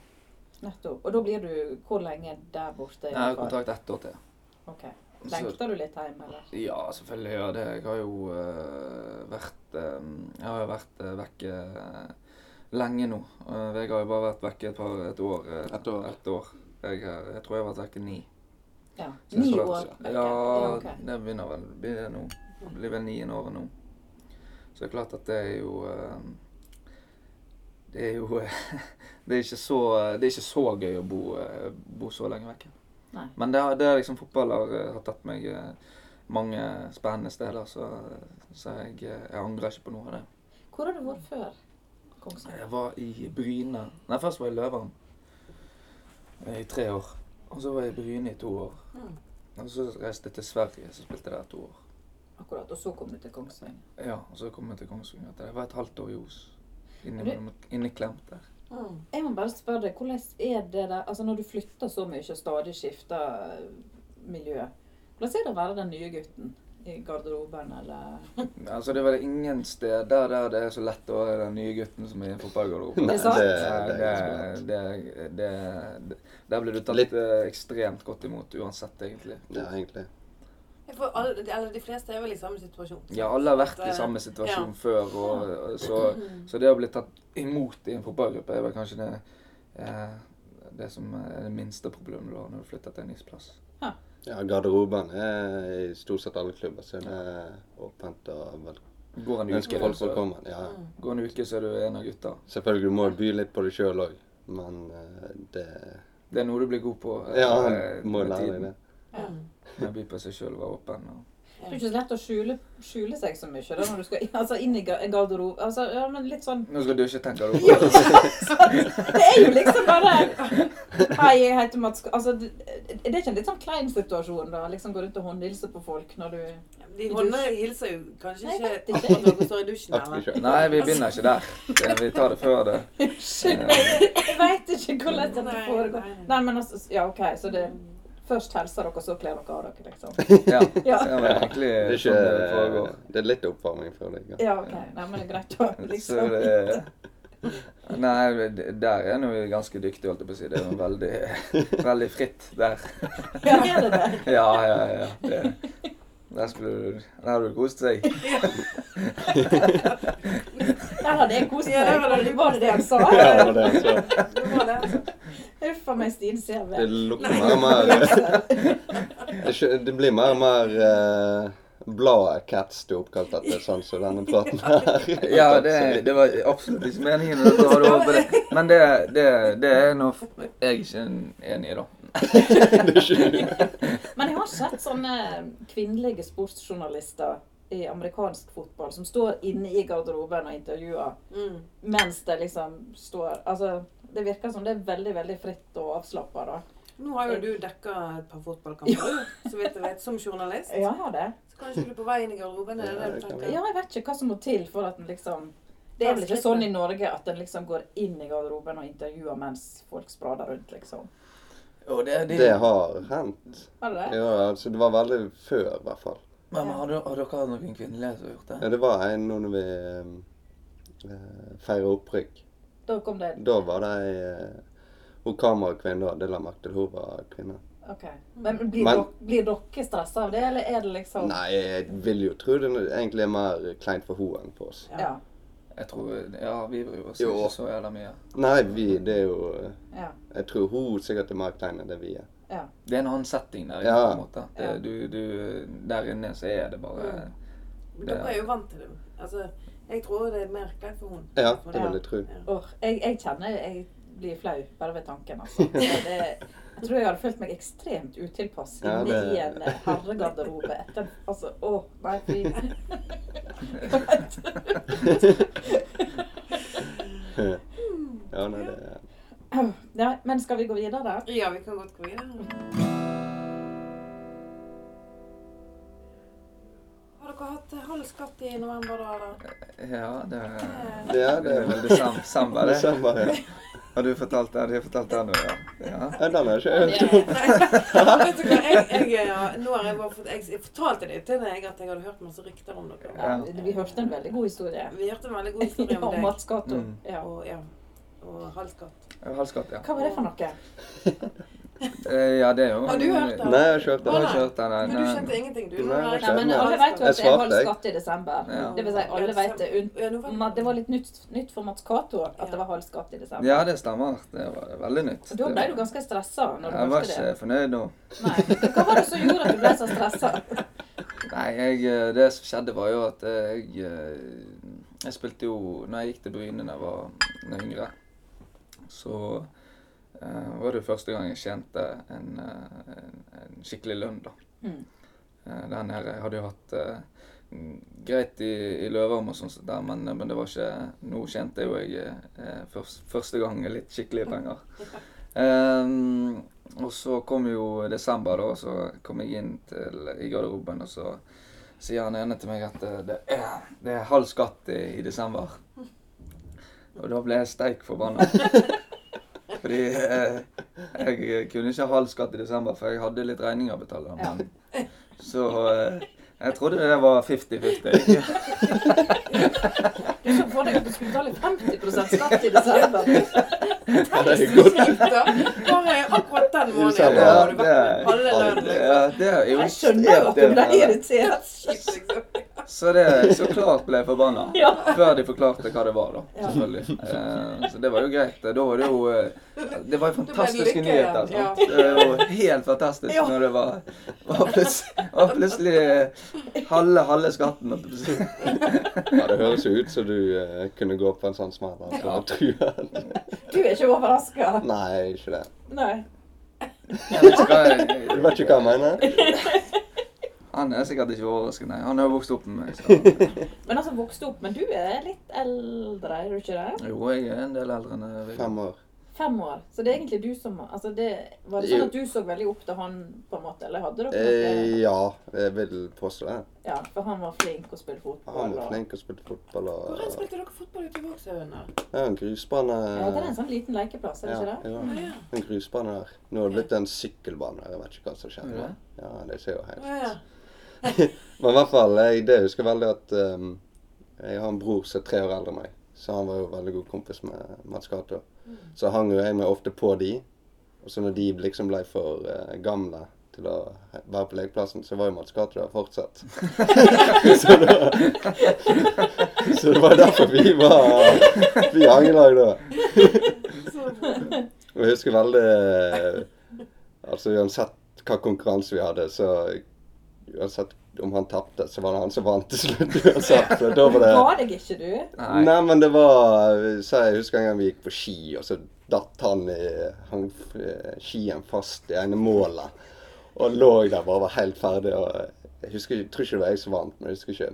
Speaker 2: Nettopp. Og da blir du hvor lenge der borte?
Speaker 4: Jeg har kontrakt ett år til.
Speaker 2: Ok.
Speaker 4: Så,
Speaker 2: Lengter du litt hjem, eller?
Speaker 4: ja, selvfølgelig gjør jeg det. Jeg har jo eh, vært eh, Jeg har jo vært uh, vekke lenge nå. Eh, Vegard har jo bare vært vekke et, par, et år. eh,
Speaker 3: Et år.
Speaker 4: Et år. Jeg, har- jeg tror jeg har vært vekke ni.
Speaker 2: Ja.
Speaker 4: Så jeg
Speaker 2: Ni
Speaker 4: skulle
Speaker 2: år?
Speaker 4: vært-
Speaker 2: merker jeg.
Speaker 4: Ja,
Speaker 2: ok.
Speaker 4: det begynner vel blir det nå. Det blir vel niende året nå. Så det er klart at det er jo eh, Det er jo det, er ikke så, det er ikke så gøy å bo, eh, bo så lenge vekke.
Speaker 2: Nei.
Speaker 4: Men det, har- det er liksom fotball har, eh, har tatt meg eh, mange spennende steder, så, så jeg, eh, jeg angrer ikke på noe av det.
Speaker 2: Hvor har du vært før? Kongsvinger?
Speaker 4: Jeg var i Bryne Nei, først var jeg i Løveren eh, i tre år. Og så var jeg i Bryne i to år.
Speaker 1: Mm.
Speaker 4: Og så reiste jeg til Sverige, så spilte jeg der to år.
Speaker 2: Akkurat. Og så kom du til Kongsvinger.
Speaker 4: Ja, og så kom jeg til Kongsvinger. etter det. Jeg var et halvt år i Os. Inni- Inneklemt der.
Speaker 1: Mm.
Speaker 2: Jeg må bare spørre deg, hvordan er det der Altså når du flytter så mye og stadig skifter eh, miljø, hvordan er det å være den nye gutten i garderoben, eller
Speaker 4: Altså, det er vel ingen steder der det er så lett å være den nye gutten som er i en fotballgarderobe.
Speaker 3: Nei,
Speaker 2: Det er sant.
Speaker 4: det,
Speaker 3: det er ganske
Speaker 4: det, det, det, der blir du tatt
Speaker 3: Litt-
Speaker 4: eh, ekstremt godt imot uansett, egentlig.
Speaker 3: bra. Ja, egentlig.
Speaker 1: Jeg får alle, de, eller de fleste er vel i samme situasjon.
Speaker 4: Ja, alle har vært
Speaker 1: Så,
Speaker 4: i samme situasjon før, og, og så,
Speaker 1: Mm.
Speaker 4: så det å bli tatt imot i en fotballgruppe er vel kanskje det, eh, det som er det minste problemet du har når du flytter til en ny plass.
Speaker 3: Ja, garderoben er i stort sett alle klubber, så det er åpent og vel
Speaker 4: Går en
Speaker 3: ønsker
Speaker 4: uke,
Speaker 3: folk
Speaker 4: så,
Speaker 3: velkommen. Ja,
Speaker 1: Mm.
Speaker 4: går en uke, så er du en av gutta.
Speaker 3: selvfølgelig du må du by litt på deg sjøl òg, men eh, det
Speaker 4: Det er noe du blir god på eh,
Speaker 3: Ja,
Speaker 4: eh,
Speaker 3: må
Speaker 4: med
Speaker 3: lære deg
Speaker 4: tiden.
Speaker 3: det.
Speaker 4: Jeg blir på seg selv og være åpen. Og...
Speaker 2: Det er jo ikke så lett å skjule, skjule seg så mye da, når du skal altså, inn i ga- en garderobe. Altså, ja, men litt sånn
Speaker 4: Nå skal du ikke tenke deg over det.
Speaker 2: Det er jo liksom bare Hei, jeg heter Mats K- Altså, det, det er ikke en litt sånn klein situasjon, da? Liksom gå rundt og håndhilse på folk når du
Speaker 1: De håndene hilser jo kanskje
Speaker 2: Nei, jeg vet
Speaker 1: ikke
Speaker 2: ikke.
Speaker 1: akkurat når dere står i dusjen.
Speaker 3: Aktiv
Speaker 1: Eller?
Speaker 3: sjøl.
Speaker 4: Nei, vi begynner ikke der. Det- Vi tar det før det.
Speaker 2: Unnskyld, jeg, jeg veit ikke hvordan dette
Speaker 1: Nei,
Speaker 2: foregår.
Speaker 1: nei.
Speaker 2: Nei, men altså Ja, OK, så det Først hilser dere, så kler dere av dere, liksom.
Speaker 4: Ja,
Speaker 2: Ja.
Speaker 4: det var egentlig
Speaker 3: Det er,
Speaker 4: sånn det
Speaker 3: ikke,
Speaker 4: foregår.
Speaker 3: det er litt oppvarming før det går.
Speaker 2: Ja, OK. Nei, men det er sånn. greit å
Speaker 4: Så
Speaker 2: liksom
Speaker 4: det, nei, det- der er nå vi ganske dyktige, holdt jeg på å si. Det er jo veldig, veldig fritt der.
Speaker 2: Ja, er det det?
Speaker 4: Ja, ja, ja. Det, der skulle du Der hadde du kost deg.
Speaker 2: Der hadde jeg kost
Speaker 1: Ja, der
Speaker 2: meg.
Speaker 1: var det-
Speaker 2: Var det det han sa?
Speaker 3: Ja, det var det han sa.
Speaker 1: Det var det, altså.
Speaker 2: Huff a meg, Stine ser
Speaker 3: Det
Speaker 2: vel.
Speaker 3: lukter mer og mer Det er ikke- Det blir mer og mer eh, bladet Cats du er oppkalt etter, sånn som denne praten her.
Speaker 4: Ja, det, det var absolutt ikke meningen. at du hadde håpet det. Men det, det, det er noe f- jeg ikke er enig i, da.
Speaker 2: Men jeg har sett sånne kvinnelige sportsjournalister i amerikansk fotball som står inne i garderoben og intervjuer
Speaker 1: Mm.
Speaker 2: mens det liksom står Altså, det virker som det er veldig, veldig fritt og avslappa, da.
Speaker 1: Nå har jo du dekka et par fotballkamper, du, så vidt jeg vet, som journalist.
Speaker 2: Ja, jeg har det.
Speaker 1: Så kanskje du er på vei inn i garderoben? Er sånn. det det du
Speaker 3: Ja, det kan
Speaker 1: tenker?
Speaker 2: Ja, jeg vet ikke hva som må til for at en liksom Det er vel ikke sånn i Norge at en liksom går inn i garderoben og intervjuer mens folk sprader rundt, liksom.
Speaker 4: Og det, det,
Speaker 3: Det har hendt.
Speaker 2: Har du det?
Speaker 3: Ja, altså, det var veldig før, i hvert fall.
Speaker 4: Men har, du, har dere hatt noen kvinnelige som har gjort
Speaker 3: Ja,
Speaker 4: det?
Speaker 3: det var en nå når vi eh, feira opprykk.
Speaker 2: Da kom det
Speaker 3: Da var det ei eh, Hun kamerakvinne, da. Det la jeg merke til. Hun var kvinne.
Speaker 2: OK. Men blir,
Speaker 3: Men-
Speaker 2: dere- blir dere stressa av det, eller er det liksom
Speaker 3: Nei, jeg vil jo tro det egentlig er mer kleint for henne enn for oss.
Speaker 2: Ja.
Speaker 4: Jeg tror, Ja, vi bryr oss
Speaker 3: Jo.
Speaker 4: ikke så jævla mye.
Speaker 3: Nei, vi, det er jo eh,
Speaker 2: ja.
Speaker 3: Jeg tror hun sikkert er mer klein enn det vi er.
Speaker 4: Det er en annen setting der.
Speaker 3: Ja.
Speaker 4: på en måte. Det, du, du, der inne så er det bare
Speaker 1: Men Dere er jo vant til det. Altså, jeg tror det er mer kleint for henne.
Speaker 3: Ja, det vil jeg tro.
Speaker 2: Åh, jeg, jeg kjenner jeg, blir flau bare ved tanken, altså. Så Det, jeg tror jeg hadde følt meg ekstremt utilpass
Speaker 3: Ja,
Speaker 2: inne
Speaker 3: det-
Speaker 2: i en eh, herregarderobe etter Altså, å, nei, fy.
Speaker 3: Ja, nei, det
Speaker 2: Nei, men skal vi gå videre?
Speaker 1: Ja, vi kan godt gå videre. Har dere hatt eh, halv skatt i november, da? eller?
Speaker 4: Ja, det er,
Speaker 1: Eh,
Speaker 3: Ja,
Speaker 4: det
Speaker 3: det
Speaker 4: er veldig sam, samba, det.
Speaker 3: Desember, ja.
Speaker 4: Har du fortalt det? Har de fortalt det nå, ja? ja.
Speaker 3: Ja, Den har jeg ikke hørt.
Speaker 1: Nei. Vet du hva, jeg, jeg, eh, nå har jeg bare fått Jeg, jeg fortalte det til deg at jeg hadde hørt masse rykter om dere.
Speaker 2: Ja, vi hørte en veldig god historie.
Speaker 1: Vi hørte en veldig god historie
Speaker 2: Ja,
Speaker 1: om
Speaker 2: om
Speaker 1: deg
Speaker 2: Mats Gato.
Speaker 4: Mm.
Speaker 2: Ja.
Speaker 1: og, ja, og halv skatt.
Speaker 4: Halvskatt, ja.
Speaker 2: Hva var det for noe?
Speaker 4: Eh, Ja, det er jo
Speaker 1: Har du hørt det?
Speaker 3: Nei, jeg har ikke hørt
Speaker 4: Jeg
Speaker 3: det.
Speaker 4: har ikke hørt det,
Speaker 1: Men
Speaker 4: nei.
Speaker 1: du
Speaker 4: nei.
Speaker 1: kjente ingenting, du?
Speaker 3: Nei,
Speaker 1: Nei,
Speaker 3: jeg
Speaker 2: Nei, men
Speaker 3: Skjønner.
Speaker 2: alle vet jo
Speaker 3: Jeg
Speaker 2: at det er
Speaker 3: svarte,
Speaker 2: halv
Speaker 3: jeg.
Speaker 2: skatt i desember.
Speaker 4: Ja.
Speaker 2: Det vil si, alle vet det. Un-
Speaker 1: Ja, nå var-
Speaker 2: Men det var litt nytt, nytt for Mats Cato at det var halv skatt i desember.
Speaker 4: Ja, det stemmer. Det var veldig nytt.
Speaker 2: Og Da ble du ganske stressa når du
Speaker 4: Jeg var
Speaker 2: hørte
Speaker 4: ikke
Speaker 2: det.
Speaker 4: fornøyd nå.
Speaker 2: Nei. Hva var det som gjorde at du ble så stressa?
Speaker 4: Nei, jeg, eh, det som skjedde var jo at jeg eh, Jeg spilte jo Når jeg gikk til Bryne da jeg var når jeg var yngre, så eh, var det jo første gang jeg tjente en, eh, en, en skikkelig lønn, da.
Speaker 2: Mm.
Speaker 4: Eh, der nede jeg hadde jo hatt eh, greit i, i Løvarm og sånn, som der, men, men det var ikke Nå tjente jo jeg eh, først, første gang litt skikkelige penger. Ehm, og så kom jo desember, da, og så kom jeg inn til, i garderoben, og så sier han ene til meg at eh, det er, det er halv skatt i, i desember. Og da ble jeg steik forbanna. Fordi eh, jeg kunne ikke ha halv skatt i desember, for jeg hadde litt regninger å betale.
Speaker 2: Ja.
Speaker 4: Men, så eh, jeg trodde det var 50-50.
Speaker 2: Du så for deg at du skulle betale 50 skatt i desember.
Speaker 3: Det er godt.
Speaker 1: Bare akkurat den
Speaker 3: Ja,
Speaker 1: måneden
Speaker 3: det
Speaker 1: har du
Speaker 4: det
Speaker 1: vært
Speaker 4: er-
Speaker 1: halve lønnen. liksom.
Speaker 4: ja, det er jo
Speaker 2: Jeg skjønner jo at du ble irritert.
Speaker 1: Shit, liksom.
Speaker 4: Så det så klart ble jeg forbanna.
Speaker 2: Ja.
Speaker 4: Før de forklarte hva det var, da.
Speaker 2: Ja.
Speaker 4: Selvfølgelig. Eh, så det var jo greit. Da var det jo eh, Det var jo fantastiske
Speaker 1: lykke,
Speaker 4: nyheter.
Speaker 1: ja.
Speaker 4: sant? Det var jo helt fantastisk
Speaker 1: Ja.
Speaker 4: når det var, var plutselig, var plutselig eh, halve, halve skatten. holdt jeg på å si.
Speaker 3: Ja, det høres jo ut som du eh, kunne gå på en sånn smell. Altså,
Speaker 4: Ja.
Speaker 3: true.
Speaker 2: Du er ikke overraska.
Speaker 3: Nei, ikke det.
Speaker 2: Nei.
Speaker 4: Jeg vet ikke hva
Speaker 3: Du
Speaker 4: jeg-
Speaker 3: vet ikke hva jeg mener?
Speaker 4: Han er sikkert ikke overrasket, nei. Han har jo vokst opp med meg. Så.
Speaker 2: Men altså, vokste opp. Men du er litt eldre, er du ikke det?
Speaker 4: Jo, jeg er en del eldre enn Viggo.
Speaker 3: Fem år.
Speaker 2: Fem år. Så det er egentlig du som altså det, Var det sånn at du så veldig opp til han, på en måte? Eller hadde dere noe
Speaker 3: Eh, ja, jeg vil påstå det.
Speaker 2: Ja, for han var flink og spilte fotball.
Speaker 3: Han var
Speaker 2: og-
Speaker 3: flink og spilte fotball og
Speaker 1: Hvordan spilte dere fotball ute i Vågshaugen? da?
Speaker 3: Ja, en grusbane.
Speaker 2: Ja, det er en sånn liten lekeplass, er det ikke det?
Speaker 3: jo,
Speaker 1: Å, ja.
Speaker 3: en grusbane der. Nå har det blitt en sykkelbane. Jeg vet ikke hva som skjedde.
Speaker 4: Ja.
Speaker 3: Ja, det ser jo
Speaker 1: Å, ja.
Speaker 3: helt Men i hvert fall, jeg, det jeg husker veldig at ehm, jeg har en bror som er tre år eldre enn meg. Så han var jo veldig god kompis med Mats Cato. Så hang jo jeg meg ofte på de. Og så når de liksom ble for eh, gamle til å være på lekeplassen, så var jo Mats Cato der fortsatt. så, da, så det var derfor vi var vi hang i lag da.
Speaker 1: Så bra.
Speaker 3: Og jeg husker veldig eh, Altså uansett hva konkurranse vi hadde, så Uansett om han tapte, så var det han som vant til slutt uansett. Så da var det
Speaker 2: Ga deg ikke, du?
Speaker 4: Nei.
Speaker 3: Nei, men det var så Jeg husker en gang vi gikk på ski, og så datt han i hang f- eh, skien fast i ene målet. Og lå der bare var helt ferdig. Og jeg husker, jeg tror ikke det var jeg som vant, men jeg husker ikke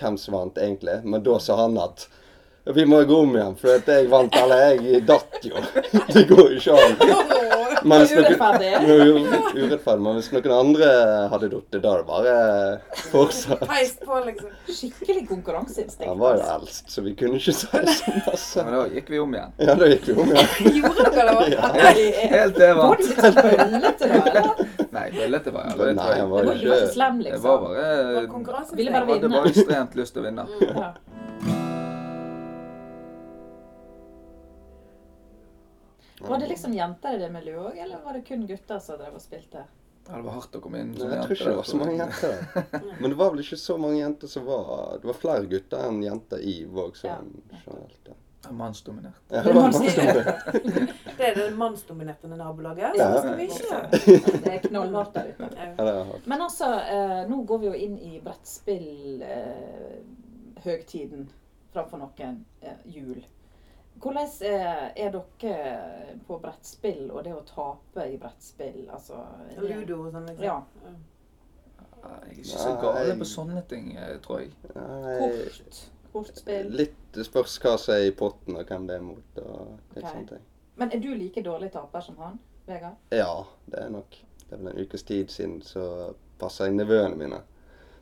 Speaker 3: hvem som vant egentlig. Men da sa han at vi må gå om igjen, for at jeg vant, eller jeg datt jo. Det går jo ikke an.
Speaker 1: Å,
Speaker 3: Men hvis noen-
Speaker 2: Urettferdig.
Speaker 3: Jo, jo, urettferdig. Men hvis noen andre hadde datt, da er det bare fortsatt.
Speaker 1: Peis på, liksom.
Speaker 2: Skikkelig konkurranseinstinkt.
Speaker 3: Han var jo
Speaker 2: altså.
Speaker 3: eldst, så vi kunne ikke si så masse.
Speaker 4: Men da gikk vi om igjen.
Speaker 3: Ja, det gikk jo om, ja.
Speaker 1: Gjorde dere det?
Speaker 3: Ja.
Speaker 2: Nei,
Speaker 4: Helt til jeg
Speaker 2: Var
Speaker 4: vant.
Speaker 2: du litt sånn bøllete da, eller?
Speaker 4: Nei, bøllete var jeg aldri.
Speaker 3: Nei,
Speaker 4: tror jeg.
Speaker 3: han
Speaker 2: Du
Speaker 3: var
Speaker 2: var du
Speaker 3: jo
Speaker 2: var ikke
Speaker 3: ikke
Speaker 2: slem,
Speaker 4: Jeg
Speaker 2: liksom?
Speaker 4: var
Speaker 1: Var
Speaker 4: bare
Speaker 1: konkurransen
Speaker 2: Ville
Speaker 1: streng?
Speaker 2: bare
Speaker 4: Jeg hadde bare ekstremt lyst til å vinne.
Speaker 2: Ja. Var det liksom jenter i det miljøet òg, eller var det kun gutter som drev og spilte?
Speaker 4: Ja, det var hardt å komme inn
Speaker 3: Nei, jeg tror ikke det var så mange jenter der. Men det var vel ikke så mange jenter som var Det var flere gutter enn jenter i Våg sånn generelt. ja.
Speaker 4: Ja, Mannsdominert.
Speaker 3: Ja, det var mange som
Speaker 1: Det er det mannsdominerte nabolaget.
Speaker 3: Ja.
Speaker 1: Så
Speaker 2: sånn
Speaker 1: skal vi ikke.
Speaker 2: Det er knallhardt der ute.
Speaker 1: Ja.
Speaker 3: Ja, det har jeg hatt.
Speaker 2: Men altså, eh, nå går vi jo inn i brettspillhøgtiden eh, høgtiden framfor noen eh, jul. Hvordan er, er dere på brettspill og det å tape i brettspill? Altså, er det-
Speaker 1: Ludo og sånn, liksom.
Speaker 2: Ja.
Speaker 4: Jeg er ikke så gal på sånne ting, eh, tror jeg.
Speaker 3: Nei,
Speaker 2: Kort. Kortspill.
Speaker 3: litt det spørs hva som er i potten, og hvem det er mot, og litt
Speaker 2: Ok.
Speaker 3: sånne ting.
Speaker 2: Men er du like dårlig taper som han, Vegard?
Speaker 3: Ja, det er nok. Det er vel en ukes tid siden så passa jeg nevøene mine.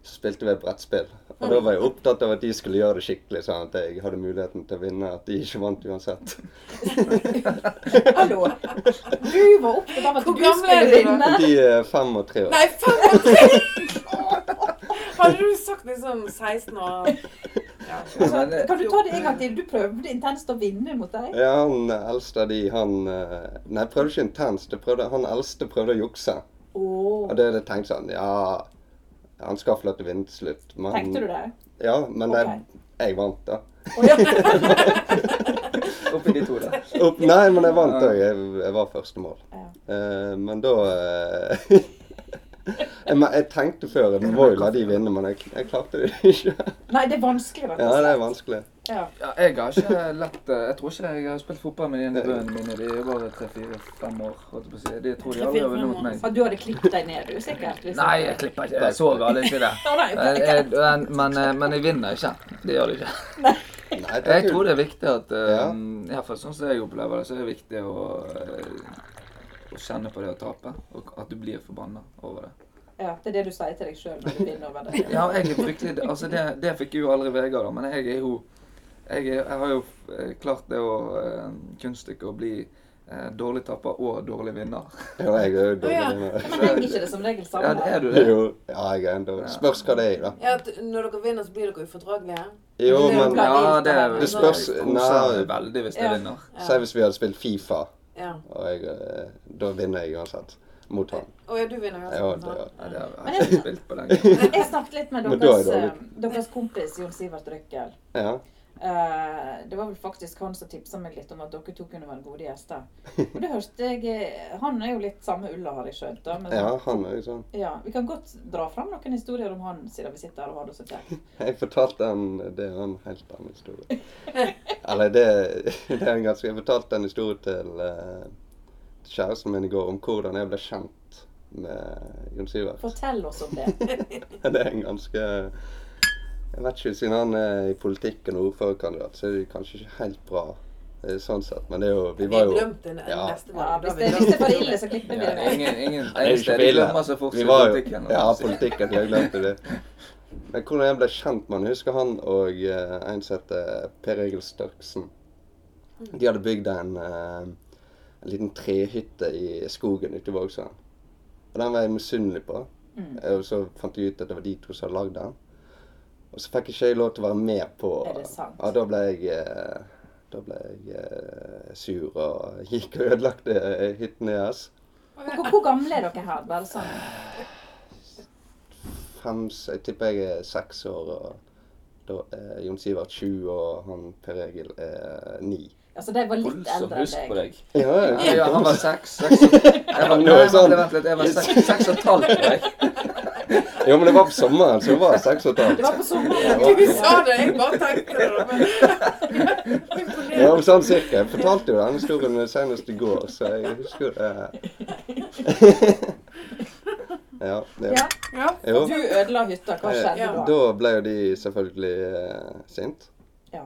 Speaker 3: Så spilte vi et brettspill. Og da var jeg opptatt av at de skulle gjøre det skikkelig, sånn at jeg hadde muligheten til å vinne. At de ikke vant uansett.
Speaker 2: Hallo! Du var opptatt av at
Speaker 1: Hvor
Speaker 2: du
Speaker 1: gammel er
Speaker 2: skulle
Speaker 1: de da?
Speaker 2: vinne!
Speaker 3: De er fem og tre år.
Speaker 1: Nei, fem og tre! Hadde du sagt liksom 16 år ja.
Speaker 4: Men det-
Speaker 2: Altså, Kan du ta det en gang til? Du prøvde intenst å vinne mot deg.
Speaker 3: Ja, han eldste av de, han eh, Nei, prøvde ikke intenst. det Prøvde, han eldste prøvde å jukse. Og
Speaker 2: Åh,
Speaker 3: da hadde jeg tenkt sånn Ja, han skal få lov til å vinne til slutt. Men,
Speaker 2: Tenkte du det?
Speaker 3: Ja, men jeg, jeg vant, da.
Speaker 2: Å ja.
Speaker 4: Oppi de to der.
Speaker 3: Opp, nei, men jeg vant òg. Jeg, jeg var første mål.
Speaker 2: Ja.
Speaker 3: Eh, men da eh, jeg, men jeg tenkte før jeg må jo la de vinne, men jeg, jeg klarte det ikke.
Speaker 2: Nei, det er vanskelig, rett
Speaker 3: Ja,
Speaker 2: og slett.
Speaker 3: det er vanskelig.
Speaker 2: Ja.
Speaker 4: Ja, jeg har ikke lett eh, Jeg tror ikke jeg har spilt fotball med de nevøene mine. De er bare tre-fire-fem år. holdt jeg på å si. De tror de aldri har vunnet mot meg.
Speaker 2: Ja, Du hadde klippet deg ned, du, sikkert. hvis-
Speaker 4: Nei, jeg klipper ikke. Jeg så gal ikke det.
Speaker 2: Ja, nei,
Speaker 4: Jeg, jeg, men, men, eh, men jeg vinner ikke. Det gjør det ikke.
Speaker 3: Nei, det er
Speaker 4: Jeg tror
Speaker 3: kult.
Speaker 4: det er viktig at eh,
Speaker 3: Ja.
Speaker 4: i hvert fall sånn som jeg opplever det, så er det viktig å, eh, å kjenne på det å tape. Og at du blir forbanna over det.
Speaker 2: Ja, det er det du sier til deg sjøl når du vinner over det.
Speaker 4: Ja, jeg er fryktelig Altså, det, det fikk jo aldri Vegard, da, men jeg er jo Jeg, er, jeg har jo eh, klart det å eh, kunststykket å bli eh, dårlig taper og dårlig vinner.
Speaker 3: Ja, jeg er jo
Speaker 1: Å, ja.
Speaker 3: dårlig vinner.
Speaker 2: Men henger ikke det som regel
Speaker 4: Ja,
Speaker 2: sammen?
Speaker 4: det er du det.
Speaker 3: Jo, ja, jeg er en dårlig. Spørs hva det er, da.
Speaker 1: ja, at når dere vinner, så blir dere ufordragelige.
Speaker 3: Jo, men
Speaker 4: Ja, det er
Speaker 3: Det spørs-
Speaker 4: jeg koser
Speaker 3: nei.
Speaker 4: meg veldig hvis
Speaker 2: Ja.
Speaker 4: jeg vinner.
Speaker 3: Si hvis vi hadde spilt Fifa,
Speaker 1: Ja.
Speaker 3: og jeg, eh, da vinner jeg uansett. Mot han.
Speaker 1: Å ja, du vinner
Speaker 3: Ja,
Speaker 1: uansett.
Speaker 3: det,
Speaker 1: sant?
Speaker 4: Ja, det har
Speaker 2: Men
Speaker 4: jeg ikke
Speaker 2: jeg-
Speaker 4: spilt på lenge.
Speaker 2: Jeg snakket litt med
Speaker 3: Men da er
Speaker 2: deres,
Speaker 3: det
Speaker 2: eh, deres kompis Jon Sivert Røkkel.
Speaker 3: ja.
Speaker 2: Eh, Det var vel faktisk han som tipsa meg litt om at dere to kunne være gode gjester. Og det hørte jeg eh, Han er jo litt samme ulla, har jeg skjønt. da, Men
Speaker 3: ja, han er jo sånn.
Speaker 2: ja, vi kan godt dra fram noen historier om han, siden vi sitter her og har det så kjekt.
Speaker 3: Jeg fortalte han Det er en helt annen historie. Eller det, det er en ganske Jeg fortalte en historie til eh, kjæresten min i går om hvordan jeg ble kjent med Jon Sivert.
Speaker 2: Fortell oss om det.
Speaker 3: Det er en ganske Jeg vet ikke, siden han er i politikken og ordførerkandidat, så er det kanskje ikke helt bra eh, sånn sett, men det er jo Vi
Speaker 1: Vi
Speaker 3: var jo
Speaker 1: glemte det
Speaker 3: Ja.
Speaker 1: neste
Speaker 2: Ja,
Speaker 1: valg.
Speaker 2: hvis det hvis det er for ille, så klipper vi
Speaker 4: Ja,
Speaker 2: det.
Speaker 4: ingen ingen,
Speaker 3: Nei, det er ikke
Speaker 4: ingen steder
Speaker 3: ille.
Speaker 4: glemmer seg fort
Speaker 3: Vi
Speaker 4: i
Speaker 3: var jo-
Speaker 4: politikken.
Speaker 3: Ja, politikken. Jeg glemte det. Men hvordan jeg ble kjent med han, jeg husker han og eh, en som heter Per Egil Størksen. De hadde bygd en, eh, en liten trehytte i skogen ute i Vågsøen. Og den var jeg misunnelig på.
Speaker 2: Mm.
Speaker 3: Og så fant jeg ut at det var de to som hadde lagd den. Og så fikk ikke jeg lov til å være med på
Speaker 2: Er det sant?
Speaker 3: Ja, da ble jeg eh, da ble jeg eh, sur og gikk og ødelagte eh, hytten deres.
Speaker 2: Hvor, hvor gamle er dere her? Bare sånn.
Speaker 3: fem, jeg tipper jeg er seks år, og da er Jon Sivert 20, og han Per Egil er ni.
Speaker 2: Altså, de var litt
Speaker 4: Voldsomt
Speaker 2: eldre
Speaker 4: husk
Speaker 2: enn
Speaker 4: på
Speaker 2: deg.
Speaker 4: deg.
Speaker 3: Ja,
Speaker 4: Ja, ja, han var seks. seks og- Jeg var,
Speaker 3: Nå er
Speaker 4: nei,
Speaker 3: sånn.
Speaker 4: vent litt, jeg var seks, seks og et halvt. tror jeg.
Speaker 3: jo, men det var på sommeren, så jeg var seks og et
Speaker 2: Det
Speaker 3: halvt.
Speaker 2: var på sommeren.
Speaker 1: Du sa det, jeg bare tenkte det. Men...
Speaker 3: Ja, men sånn cirka. Jeg fortalte jo den historien senest i går, så jeg husker jo det.
Speaker 2: Ja.
Speaker 3: Ja, ja.
Speaker 1: Ja.
Speaker 3: Jo.
Speaker 2: Du ødela hytta. Hva skjedde
Speaker 1: Ja.
Speaker 2: da?
Speaker 3: Eh, Da ble jo de selvfølgelig eh, sint.
Speaker 2: Ja.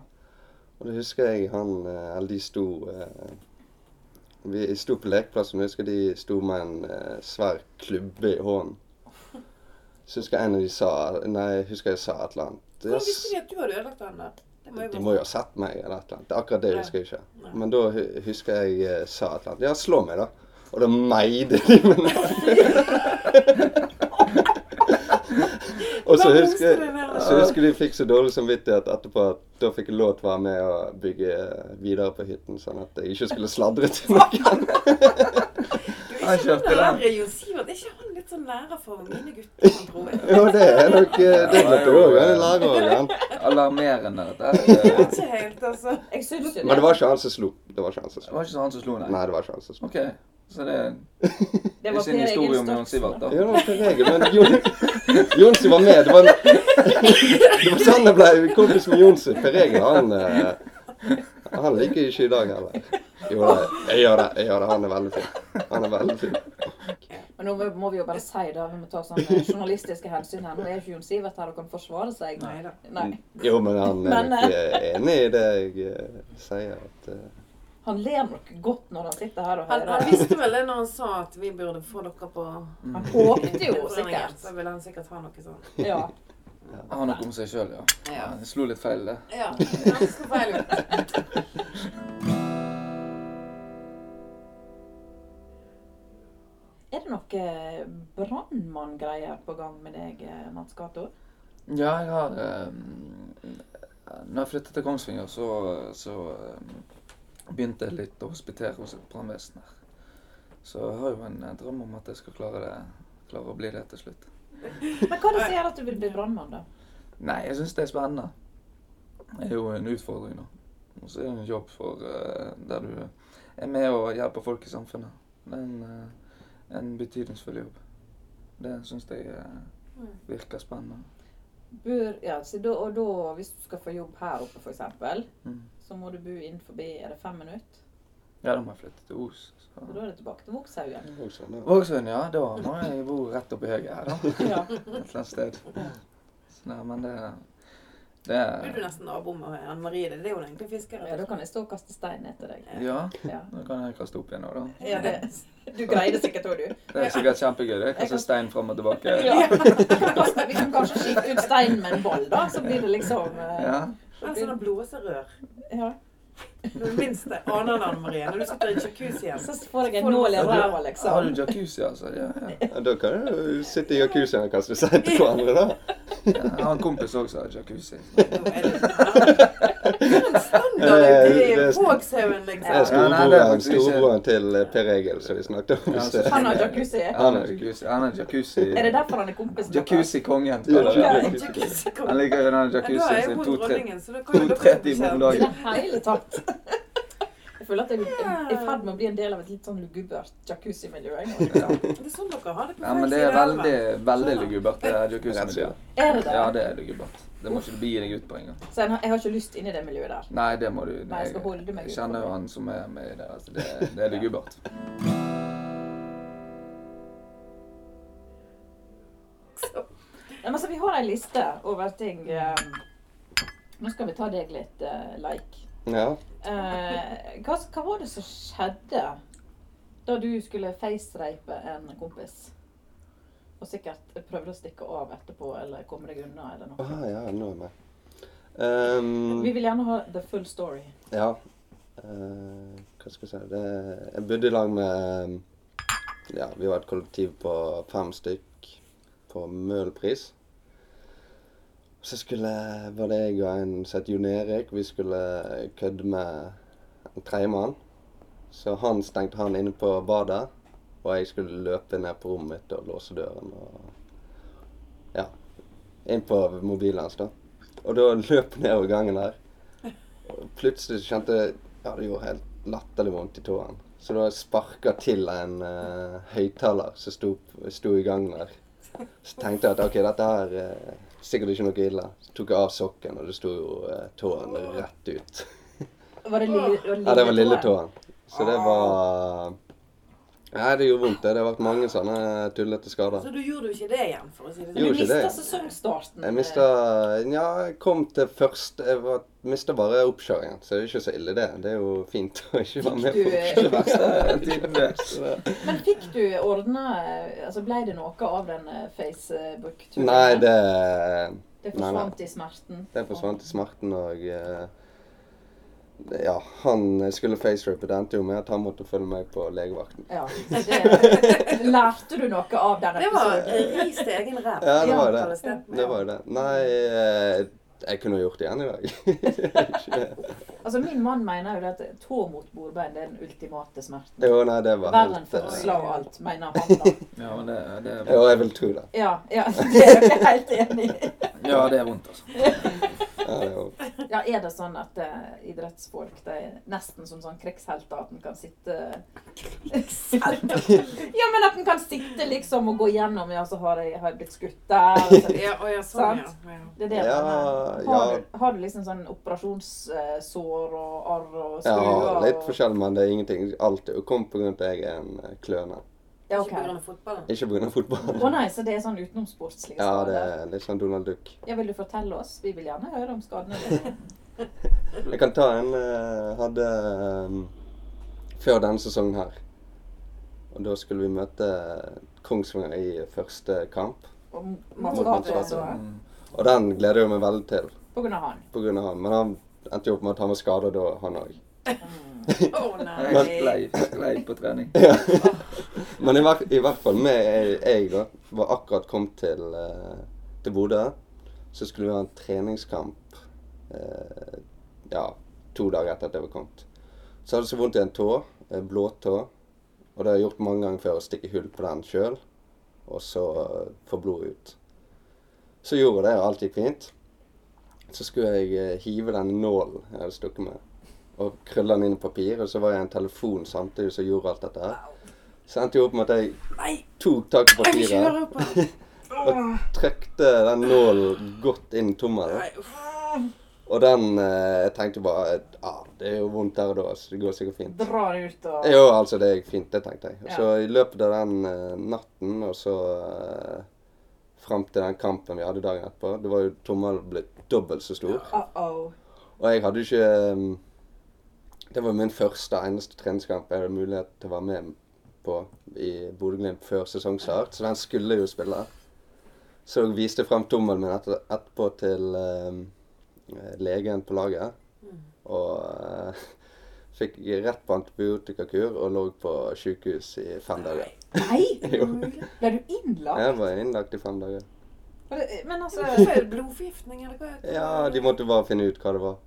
Speaker 3: Og da husker jeg han eh, Eller de sto eh, Vi sto på lekeplassen, og jeg husker de sto med en eh, svær klubbe i hånden. Så husker jeg en av de sa Nei, jeg husker jeg sa et eller annet.
Speaker 1: Hvordan
Speaker 3: Jeg
Speaker 1: visste de at du hadde ødelagt den der? Det må jeg
Speaker 3: de
Speaker 1: bare-
Speaker 3: må jo ha sett meg eller et eller annet. Akkurat det husker jeg ikke.
Speaker 1: Nei.
Speaker 3: Men da hu- husker jeg eh, sa et eller annet. Ja, slå meg, da. Og da meide de meg ned. Og så
Speaker 1: Hvem
Speaker 3: husker
Speaker 1: husker det
Speaker 3: jeg
Speaker 1: der?
Speaker 3: så husker de fikk så dårlig samvittighet etterpå at da fikk jeg lov til å være med og bygge eh, videre på hytten, sånn at jeg ikke skulle sladre til noen.
Speaker 4: Han
Speaker 1: Lærer
Speaker 4: kjørte den.
Speaker 1: sånn eh, Jon Sivert, er ikke han litt sånn lærer for mine gutter, han tror jeg?
Speaker 3: Jo, det er nok eh, Det
Speaker 4: Ja,
Speaker 3: måtte
Speaker 4: jo,
Speaker 3: jo òg
Speaker 4: eh.
Speaker 3: være lærer òg, han.
Speaker 4: Alarmerende, dette.
Speaker 1: Ikke helt, altså.
Speaker 2: Jeg syns jo
Speaker 3: Men det
Speaker 2: det.
Speaker 3: var ikke han som slo. Det var ikke han som
Speaker 4: Det
Speaker 3: slo.
Speaker 4: var ikke så han som slo, nei.
Speaker 3: Nei, det var ikke han som slo.
Speaker 4: Ok, så det er
Speaker 2: Det
Speaker 4: det er
Speaker 2: var
Speaker 4: sin
Speaker 2: Per
Speaker 4: historie
Speaker 2: Egil
Speaker 4: om Jon Sivert,
Speaker 2: Stoksen.
Speaker 4: da.
Speaker 3: Ja, det var ikke regel, men Jon, Jonsi var med. Det var, det var sånn jeg ble kompis med Jonsi. Per Egil, han eh, Og han liker jeg ikke i dag heller. Jo da, jeg gjør det. jeg gjør det. Han er veldig fin. Han er veldig fin.
Speaker 2: Men nå må vi jo bare si det, vi må ta sånne journalistiske hensyn her. Nå er ikke Jon Sivert her og kan forsvare seg.
Speaker 1: Nei da.
Speaker 2: Nei.
Speaker 3: Jo, men han er
Speaker 2: Men,
Speaker 3: nok eh, enig i det jeg eh, sier. at... eh,
Speaker 2: Han ler nok godt når han sitter her og
Speaker 1: Han, han
Speaker 2: hører.
Speaker 1: visste vel det når han sa at vi burde få dere på
Speaker 2: Han håpte jo
Speaker 1: innblandingen,
Speaker 2: sikkert.
Speaker 1: Så ville han sikkert ha noe sånt.
Speaker 2: Ja.
Speaker 4: Han har noe om seg sjøl, ja.
Speaker 1: Ja.
Speaker 4: Jeg slo litt feil der.
Speaker 1: Ja, han slo feil ut.
Speaker 2: Er det noe eh, brannmanngreier på gang med deg, eh, Mats Cato?
Speaker 4: Ja, jeg har eh, Når jeg flyttet til Kongsvinger, så, så eh, begynte jeg litt å hospitere hos et brannvesen her. Så jeg har jo en eh, drøm om at jeg skal klare, det, klare å bli det til slutt.
Speaker 2: Men hva er det som gjør at du vil bli brannmann, da?
Speaker 4: Nei, jeg syns det er spennende. Det er jo en utfordring, da. Og så er det en jobb for eh, der du er med og hjelper folk i samfunnet. Det er en, eh, en betydningsfull jobb. Det syns jeg eh,
Speaker 2: Mm.
Speaker 4: virker spennende.
Speaker 2: Bør, ja, så da, og da, hvis du skal få jobb her oppe, f.eks.,
Speaker 4: Mm.
Speaker 2: så må du bo innenfor er det fem minutter.
Speaker 4: Ja, da må jeg flytte til Os.
Speaker 2: Og
Speaker 4: så-
Speaker 2: da er det tilbake til Vokshaugen.
Speaker 3: og sånn, ja.
Speaker 4: Vågsund, ja. Da må jeg bo rett oppi høyre her, da. Et
Speaker 2: Ja.
Speaker 4: eller annet sted. Så nei, men det, det
Speaker 1: Blir du nesten nabo med Anne Marie? Det er jo egentlig fiskere.
Speaker 2: ja, da kan jeg stå og kaste stein etter deg.
Speaker 4: Ja,
Speaker 2: Ja.
Speaker 4: nå kan jeg kaste opp igjen nå, da.
Speaker 2: Ja, det, du greier det sikkert òg, du.
Speaker 4: Det er sikkert kjempegøy. det. Kaste stein fram og tilbake.
Speaker 2: Ja. Vi kan kaste- vi kan kanskje skifte ut steinen med en ball, da, så blir det liksom eh,
Speaker 4: Ja.
Speaker 1: Eller sånne blåserør.
Speaker 2: ja.
Speaker 1: Når du minst aner det, Anne Marie. Når du sitter i jacuzzien.
Speaker 2: Så får jeg en
Speaker 1: Får du-
Speaker 2: nål i ræva,
Speaker 4: Har
Speaker 2: liksom.
Speaker 4: du jacuzzi, altså? Ja, ja.
Speaker 3: Ja, Da kan du jo sitte i jacuzzien og kaste seg til hverandre, da.
Speaker 4: Jeg har en kompis òg som har jacuzzi.
Speaker 1: Standard i
Speaker 3: Eh, det-
Speaker 1: Vågshaugen,
Speaker 3: Det er
Speaker 1: liksom.
Speaker 4: Ja, nei, det er
Speaker 3: storebroren,
Speaker 4: faktisk ikke-
Speaker 3: storebroren til eh, Per Egil som vi snakket om i
Speaker 4: Ja,
Speaker 3: sted.
Speaker 2: Han har jacuzzi. Er
Speaker 4: Han har jacuzzi. Han har jacuzzi.
Speaker 2: det derfor han er kompis med dere?
Speaker 4: Jacuzzi-kongen.
Speaker 3: Ja, det
Speaker 4: kaller
Speaker 3: er
Speaker 4: jeg det.
Speaker 1: Jacuzzi.
Speaker 4: Han ligger under den
Speaker 1: Ja, Da
Speaker 4: jacuzzien
Speaker 1: er
Speaker 4: sin
Speaker 1: hun
Speaker 4: to-tre
Speaker 1: dronningen, så da kan jo
Speaker 4: to-tre
Speaker 1: dere bli
Speaker 4: timer om
Speaker 1: kjent.
Speaker 2: I det
Speaker 4: dagen.
Speaker 2: hele tatt. Jeg føler at jeg er i ferd med å bli en del av et litt sånn lugubert jacuzzi-miljø. jeg nå, liksom.
Speaker 1: Det er sånn dere har det på
Speaker 4: Ja, men
Speaker 1: feil
Speaker 4: det er
Speaker 1: side av elven.
Speaker 4: veldig, veldig lugubert, det jacuzzi-miljøet.
Speaker 2: Er det
Speaker 4: Ja,
Speaker 2: det?
Speaker 4: det er lugubert. Det må ikke du begi deg ut på engang.
Speaker 2: Så jeg har jeg har ikke lyst inn i det miljøet der.
Speaker 4: Nei, det må du.
Speaker 2: Nei, jeg skal holde meg
Speaker 4: jeg
Speaker 2: ut
Speaker 4: kjenner
Speaker 2: på
Speaker 4: jo
Speaker 2: det.
Speaker 4: han som er med i det. Altså, det, det er lugubert.
Speaker 1: altså.
Speaker 2: Nei, men så vi har ei liste over ting. eh, Nå skal vi ta deg litt eh, like.
Speaker 3: Ja.
Speaker 2: Eh, hva, hva var det som skjedde da du skulle facerape en kompis? Og sikkert prøvde å stikke av etterpå eller komme deg unna eller noe.
Speaker 3: Ah, ja, nå er jeg med. Ehm,
Speaker 2: Vi vil gjerne ha the full story.
Speaker 3: Ja. Eh, hva skal jeg si det, Jeg bodde i lag med Ja, vi var et kollektiv på fem stykk på Møhlenpris. Så skulle, var det jeg og en som het Jon Erik, vi skulle kødde med en tredjemann. Så han stengte han inne på badet, og jeg skulle løpe ned på rommet mitt og låse døren og Ja. Inn på mobilen hans, da. Og da løp jeg nedover gangen der. Og plutselig så kjente jeg Ja, det gjorde helt latterlig vondt i tåen. Så da sparka til en uh, høyttaler som sto, sto i gangen der. Så tenkte jeg at OK, dette her eh, sikkert ikke noe ille. Så tok jeg av sokken, og det sto jo eh, tåen rett ut.
Speaker 2: Var det lille, var
Speaker 3: Ja, det var
Speaker 2: lille tåen?
Speaker 3: lilletåen. Så det var Nei, det gjorde vondt. det. Det har vært mange sånne tullete skader.
Speaker 1: Så du gjorde jo ikke det igjen, for å si det sånn.
Speaker 2: Men
Speaker 3: Jo,
Speaker 2: du
Speaker 3: ikke
Speaker 2: mista
Speaker 3: det.
Speaker 2: sesongstarten. eh,
Speaker 3: Jeg mista Nja, jeg kom til først Jeg var- mista bare oppkjøringen, så det er ikke så ille, det. Det er jo fint å ikke være med på
Speaker 2: Fikk
Speaker 4: Det verste er tiden det.
Speaker 2: Men fikk du ordna altså Ble det noe av den eh, Facebook-turen?
Speaker 3: Nei, det
Speaker 2: Det
Speaker 3: nei, nei.
Speaker 2: forsvant i smerten?
Speaker 3: Det forsvant i smerten, og eh, Ja, han skulle facerape. Det endte jo med at han måtte følge meg på legevakten.
Speaker 2: Ja. så Det, lærte du noe av den
Speaker 1: Det var
Speaker 2: episoden?
Speaker 1: eh, ris til egen ræv.
Speaker 3: Ja, det var
Speaker 1: kalles
Speaker 3: det. Det var jo det. Nei, eh, jeg kunne gjort det igjen i dag. Ikke-
Speaker 2: Altså, min mann mener jo det at tå mot bordbein det er den ultimate smerten.
Speaker 3: jo, nei, det var
Speaker 2: Verre enn
Speaker 3: helt eh,
Speaker 2: fødsler og alt, mener han. da.
Speaker 4: Ja, men det, det,
Speaker 3: Jo, jeg vil tro det.
Speaker 2: Ja, ja, det er jeg helt enig i.
Speaker 4: ja, det er vondt, altså.
Speaker 3: Ja, det var-
Speaker 2: Ja, Ja, er det sånn at eh, idrettsfolk de er nesten som sånn krigshelter at en kan sitte Ja, men at en kan sitte liksom og gå gjennom Ja, så har jeg, har jeg blitt skutt der. og så-
Speaker 1: Ja, å ja, sånn, ja. ja.
Speaker 2: Det er det
Speaker 3: Ja,
Speaker 2: jeg mener. har,
Speaker 3: ja.
Speaker 2: du, har du liksom sånn operasjonssår og arr og
Speaker 3: Jeg
Speaker 2: skruer?
Speaker 3: har litt
Speaker 2: og-
Speaker 3: forskjell, men det er ingenting. Alt er jo kommet pga. at jeg er en eh, kløne.
Speaker 2: Ja,
Speaker 1: Ikke på grunn
Speaker 2: ok.
Speaker 1: av fotballen.
Speaker 3: Ikke pga.
Speaker 2: Å
Speaker 3: fotballen.
Speaker 2: nei, så det er sånn utenomsportslige
Speaker 3: Ja, det
Speaker 2: skader?
Speaker 3: er litt sånn Donald Duck.
Speaker 2: Ja, vil du fortelle oss? Vi vil gjerne høre om skadene. dine.
Speaker 3: Jeg kan ta en eh, hadde ehm, før denne sesongen her. Og da skulle vi møte Kongsvinger i første kamp.
Speaker 2: Og
Speaker 1: Mot
Speaker 2: Mats
Speaker 1: Mats
Speaker 2: Gato,
Speaker 3: Gato.
Speaker 4: Mm.
Speaker 3: Og den gleder jeg meg veldig til
Speaker 2: på grunn av han.
Speaker 3: pga. han. Men han endte jo opp med at han var skada da, han òg.
Speaker 1: Å
Speaker 4: Jeg
Speaker 1: nei.
Speaker 4: sklei, sklei på trening.
Speaker 3: Men i, hver, i hvert fall meg, jeg, jeg da, var akkurat kommet til, eh, til Bodø. Så skulle vi ha en treningskamp eh, ja, to dager etter at jeg var kommet. Så hadde jeg så vondt i en tå, eh, blåtå. Og det har jeg gjort mange ganger før, å stikke hull på den sjøl, og så eh, få blodet ut. Så gjorde jeg det, og alt gikk fint. Så skulle jeg eh, hive den nålen jeg hadde stukket med, og krølle den inn i papir. Og så var jeg i en telefon samtidig som jeg gjorde alt dette her. Så endte jeg opp med at jeg
Speaker 1: Nei,
Speaker 3: tok tak i
Speaker 1: jeg vil ikke
Speaker 3: papiret,
Speaker 1: høre på det. Åh,
Speaker 3: trykte den nålen godt inn i tommelen.
Speaker 1: Nei, uff.
Speaker 3: Og den eh, Jeg tenkte bare ah, Det er jo vondt der og da, så det går sikkert fint.
Speaker 2: Drar ut og
Speaker 3: Jo, altså, det gikk fint, det tenkte jeg. Og så
Speaker 2: Ja.
Speaker 3: i løpet av den eh, natten, og så eh, fram til den kampen vi hadde dagen etterpå, det var jo tommelen blitt dobbelt så stor.
Speaker 2: Uh-oh.
Speaker 3: Og jeg hadde ikke um, Det var min første og eneste treningskamp jeg hadde mulighet til å være med på i Bodø-Glimt før sesongstart, så den skulle jeg jo spille. Så jeg viste frem tommelen min etter, etterpå til um, eh, legen på laget. Og eh, fikk rett på antibiotikakur og lå på sykehus i fem dager.
Speaker 2: Nei!
Speaker 3: Jo.
Speaker 2: Ble du innlagt?
Speaker 3: Jeg var innlagt i fem dager.
Speaker 2: Var det- Men altså
Speaker 1: Så er det blodforgiftning, eller hva?
Speaker 3: Ja, de måtte bare finne ut hva det var.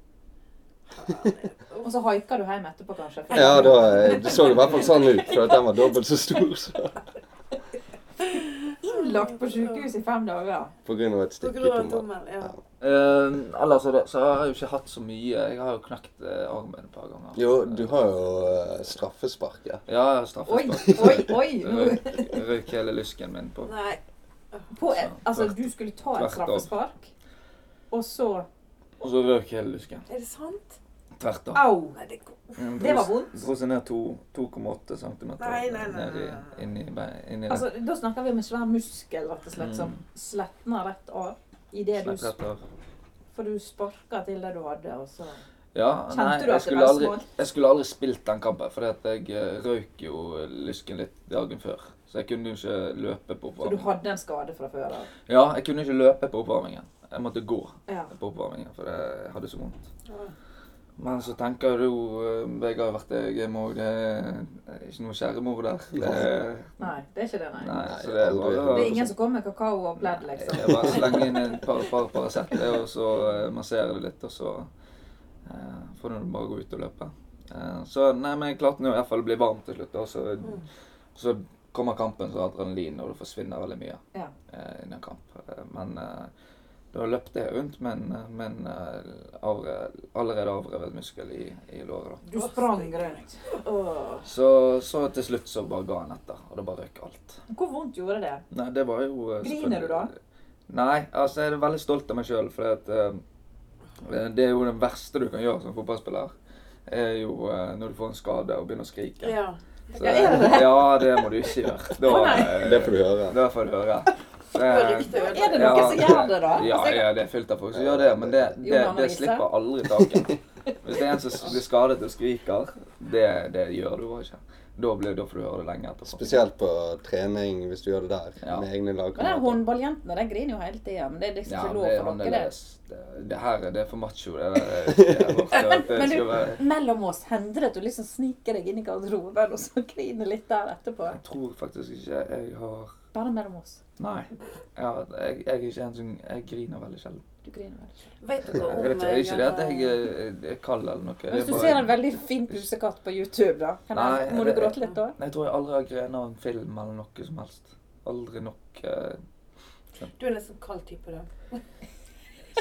Speaker 2: Og så haiker du hjem etterpå, kanskje? for-
Speaker 3: Ja, da, eh, det så i hvert fall sånn ut, for at den var dobbelt så stor. Så.
Speaker 2: Innlagt på sykehus i fem dager.
Speaker 3: På grunn av et
Speaker 1: På
Speaker 3: stikk i
Speaker 1: grunn av
Speaker 3: tommelen.
Speaker 1: tommel, ja.
Speaker 4: Eh, ellers er det, så har jeg jo ikke hatt så mye. Jeg har jo knekt eh, armen et par ganger.
Speaker 3: Jo, du har jo eh, straffespark, ja.
Speaker 4: Ja, jeg har
Speaker 2: Oi,
Speaker 4: straffespark.
Speaker 2: oi, oi! Nå.
Speaker 4: Røyk, røyk hele lysken min på.
Speaker 1: Nei.
Speaker 2: På et, altså, du skulle ta
Speaker 4: Tvert
Speaker 2: et
Speaker 4: av.
Speaker 2: straffespark, og så
Speaker 4: Og så røyk hele lysken.
Speaker 1: Er det sant?
Speaker 4: Tvert Mm, av.
Speaker 2: Au!
Speaker 1: Nei, det går
Speaker 2: Ah, Det var vondt.
Speaker 4: Dro seg ned to- 2,8 cm
Speaker 1: Nei, nei, nei, nei, nei, nei.
Speaker 4: inni, bein- inni der.
Speaker 2: Altså, da snakker vi om en svær muskel, rett og slett, som sletner rett av. I det du,
Speaker 4: Slett rett av.
Speaker 2: for du sparka til det du hadde, og så
Speaker 4: Ja,
Speaker 2: Kjente
Speaker 4: nei,
Speaker 2: du at
Speaker 4: jeg
Speaker 2: det
Speaker 4: skulle,
Speaker 2: var
Speaker 4: aldri,
Speaker 2: smalt?
Speaker 4: jeg skulle aldri spilt den kampen, fordi at jeg eh, røyk jo lysken litt dagen før. Så jeg kunne jo ikke løpe på
Speaker 2: For du
Speaker 4: oppvarmingen.
Speaker 2: hadde en skade fra før av.
Speaker 4: Ja, jeg kunne ikke løpe på oppvarmingen. Jeg måtte gå
Speaker 2: Ja.
Speaker 4: på oppvarmingen, for jeg hadde så vondt.
Speaker 1: Ja.
Speaker 4: Men så tenker du jo eh, Jeg har vært jeg hjemme òg. Det er ikke noe skjæremor der. Det,
Speaker 2: Nei, det er ikke det, nei.
Speaker 4: nei, så det er bare
Speaker 2: Det er ingen som kommer med kakao og pledd, liksom.
Speaker 4: Jeg bare slenger inn et par, par Paracet, og så eh, masserer det litt, og så eh, får du bare gå ut og løpe. Eh, så nei, men jeg klarte nå i hvert fall å bli varm til slutt, og så,
Speaker 2: Mm.
Speaker 4: så kommer kampen så adrenalin, og det forsvinner veldig mye
Speaker 2: Ja.
Speaker 4: eh, innen kamp. Eh, Men eh, da løpte jeg rundt med en med en, eh, avre, allerede avrevet muskel i, i låret. da.
Speaker 2: Du sprang rundt. Åh.
Speaker 4: Så, så til slutt så bare ga han etter, og da bare røk alt.
Speaker 2: Hvor vondt gjorde det?
Speaker 4: Nei, det var jo eh,
Speaker 2: Griner
Speaker 4: selvfølgelig-
Speaker 2: du da?
Speaker 4: Nei, altså jeg er veldig stolt av meg sjøl, for at, eh, det er jo det verste du kan gjøre som fotballspiller. er jo eh, når du får en skade og begynner å skrike.
Speaker 1: Ja.
Speaker 4: Så-
Speaker 2: Ja, er det det?
Speaker 4: Ja, det må du ikke gjøre. Da, eh,
Speaker 3: Det får du høre.
Speaker 4: da får du høre. Så,
Speaker 1: Det var
Speaker 4: eh,
Speaker 1: riktig å
Speaker 2: Er det
Speaker 4: Ja.
Speaker 2: noen som gjør det, da?
Speaker 4: ja,
Speaker 2: Altså, jeg-
Speaker 4: ja, det er fylt av folk som gjør det, men det, det,
Speaker 2: Johan og
Speaker 4: det
Speaker 2: Lise.
Speaker 4: slipper aldri taket. Hvis det er en som blir skadet og skriker, det, det gjør du bare ikke. Da, blir, da får du høre det lenge etterpå.
Speaker 3: Spesielt på trening, hvis du gjør det der,
Speaker 4: Ja.
Speaker 3: med egne
Speaker 2: Men den
Speaker 3: lagkamerater.
Speaker 2: håndballjentene de griner jo hele tida. Men det er liksom
Speaker 4: Ja,
Speaker 2: ikke
Speaker 4: det
Speaker 2: lov
Speaker 4: er
Speaker 2: for dere, det.
Speaker 4: annerledes. Det, det her er det er for macho. Det, der. det, er vårt,
Speaker 2: Men,
Speaker 4: at det
Speaker 2: men
Speaker 4: skal være-
Speaker 2: du, mellom oss, hender det at du liksom sniker deg inn i garderoben og så griner litt der etterpå?
Speaker 4: Jeg tror faktisk ikke jeg har
Speaker 2: Bare mellom oss.
Speaker 4: Nei. Jeg, har, jeg, jeg er ikke en som Jeg griner veldig sjelden.
Speaker 2: Du griner veldig.
Speaker 1: Vet
Speaker 4: Jeg
Speaker 1: dere om
Speaker 4: vet ikke, det er ikke det at jeg
Speaker 1: eh,
Speaker 4: eh, er kald eller noe. det er
Speaker 2: Hvis du
Speaker 4: bare-
Speaker 2: ser en veldig fin pusekatt på YouTube, da, kan jeg,
Speaker 4: Nei,
Speaker 2: må du
Speaker 4: det-
Speaker 2: gråte litt da?
Speaker 4: Nei, Jeg tror jeg aldri har grenet av en film eller noe som helst. Aldri nok eh,
Speaker 1: Du er en litt sånn kald type, da.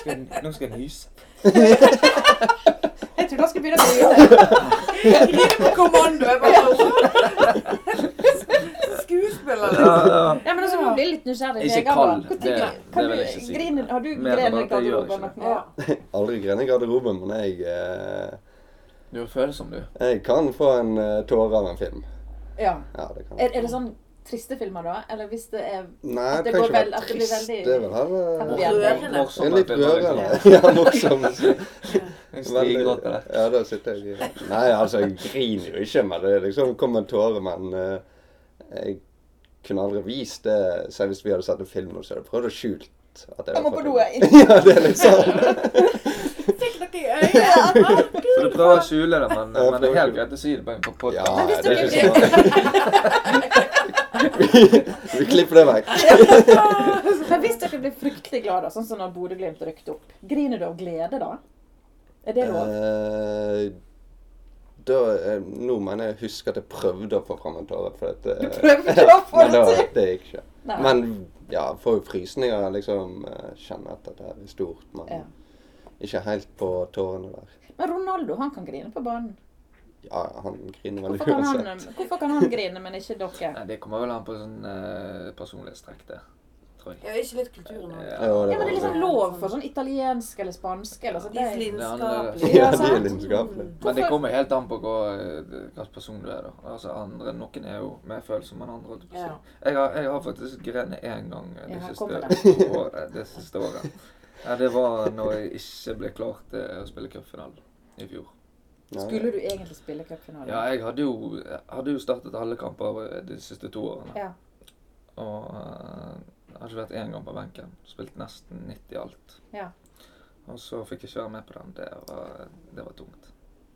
Speaker 4: Skal jeg, nå skal jeg nyse.
Speaker 2: Jeg trodde han skulle begynne å grine.
Speaker 1: Grine på kommando! Jeg bare Skuespiller, liksom.
Speaker 2: Ja, men altså, Nå blir jeg litt nysgjerrig.
Speaker 4: Ikke
Speaker 2: Vegard,
Speaker 4: kald,
Speaker 2: da. Hvor
Speaker 4: det- det
Speaker 2: kan
Speaker 4: vil jeg
Speaker 2: du
Speaker 4: ikke si.
Speaker 2: grine- Har du
Speaker 4: Men
Speaker 2: grenet i
Speaker 4: at jeg gjør
Speaker 2: garderoben?
Speaker 4: ikke
Speaker 2: noe? Ja.
Speaker 3: Aldri grene i garderoben, men jeg, eh,
Speaker 4: Du føler som du.
Speaker 3: jeg kan få en eh, tåre av en film.
Speaker 2: Ja.
Speaker 3: Ja, det kan jeg.
Speaker 2: Er, er det sånn triste filmer, da? Eller hvis det er
Speaker 3: Nei,
Speaker 2: At det
Speaker 3: det kan
Speaker 2: går
Speaker 3: ikke
Speaker 2: vel-
Speaker 3: være
Speaker 2: at det blir
Speaker 3: trist.
Speaker 2: veldig-
Speaker 3: Det er vel
Speaker 2: At
Speaker 3: heller
Speaker 2: det er-
Speaker 3: Det er litt rørende.
Speaker 4: Jeg
Speaker 3: Ja, morsom.
Speaker 4: stiger godt på det.
Speaker 3: Ja, da sitter jeg i Nei, altså, jeg griner jo ikke, men det er liksom kommer en tåre, men eh, jeg kunne aldri vist det. Selv hvis vi hadde sett en film og så hadde jeg prøvd å skjult at jeg
Speaker 2: Jeg må
Speaker 3: var
Speaker 2: på
Speaker 3: fra
Speaker 2: do, jeg.
Speaker 3: Finland. Ja, det er liksom
Speaker 1: Fikk dere i øynene?
Speaker 4: Så du prøver å skjule det, men, men det er helt greit å si det på en
Speaker 3: Ja,
Speaker 4: podkast.
Speaker 2: hvis
Speaker 3: det
Speaker 2: det
Speaker 3: er
Speaker 2: blir-
Speaker 3: ikke så Vi klipper det vekk.
Speaker 2: Men hvis dere blir fryktelig glade, sånn som når Bodø-Glimt rykket opp, griner du av glede da? Er det lov?
Speaker 3: Eh, Da, eh, nå mener jeg å huske at jeg prøvde å få fram en tåre. For at, eh,
Speaker 2: Du prøvde å få
Speaker 3: men
Speaker 2: det
Speaker 3: da-
Speaker 2: til.
Speaker 3: Det gikk ikke.
Speaker 2: Nei.
Speaker 3: Men ja, får jo frysninger. Liksom eh, kjenner at det er stort, men
Speaker 2: Ja.
Speaker 3: ikke helt på tårene der.
Speaker 2: Men Ronaldo han kan grine på banen.
Speaker 3: Ja, ja, han griner
Speaker 2: Hvorfor
Speaker 3: vel
Speaker 2: kan han,
Speaker 3: uansett.
Speaker 2: hvorfor kan han grine, men ikke dere?
Speaker 4: Nei, Det kommer vel an på sånn eh, personlighetstrekk, det. Tror jeg.
Speaker 1: Ja, ikke litt kulturen òg.
Speaker 2: Ja,
Speaker 3: Jo,
Speaker 4: Ja.
Speaker 3: det
Speaker 2: men Det
Speaker 3: var
Speaker 2: er
Speaker 3: det.
Speaker 2: liksom lov for sånn italiensk eller spansk eller sånn.
Speaker 1: Altså, De er så
Speaker 2: Det-
Speaker 1: lidenskapelige. Mm.
Speaker 3: Ja, de er
Speaker 2: sant.
Speaker 3: lidenskapelige.
Speaker 4: Men det kommer helt an på hva slags person du er. da. Altså andre, Noen er jo mer følsomme enn andre. holdt jeg på å si.
Speaker 1: Ja.
Speaker 4: Jeg, har, jeg har faktisk grenet én gang eh,
Speaker 2: Ja,
Speaker 4: det
Speaker 2: her kommer
Speaker 4: siste året. Det siste året. Ja, det var når jeg ikke ble klar til å spille cupfinalen i fjor.
Speaker 3: Ja,
Speaker 2: Skulle du egentlig spille cupfinale?
Speaker 4: Ja, jeg hadde jo, jeg hadde jo startet alle kamper eh, de siste to årene.
Speaker 2: Ja.
Speaker 4: Og eh, jeg hadde vært én gang på benken. Spilt nesten 90 i alt.
Speaker 2: Ja.
Speaker 4: Og så fikk jeg ikke være med på den. Det var, det var tungt.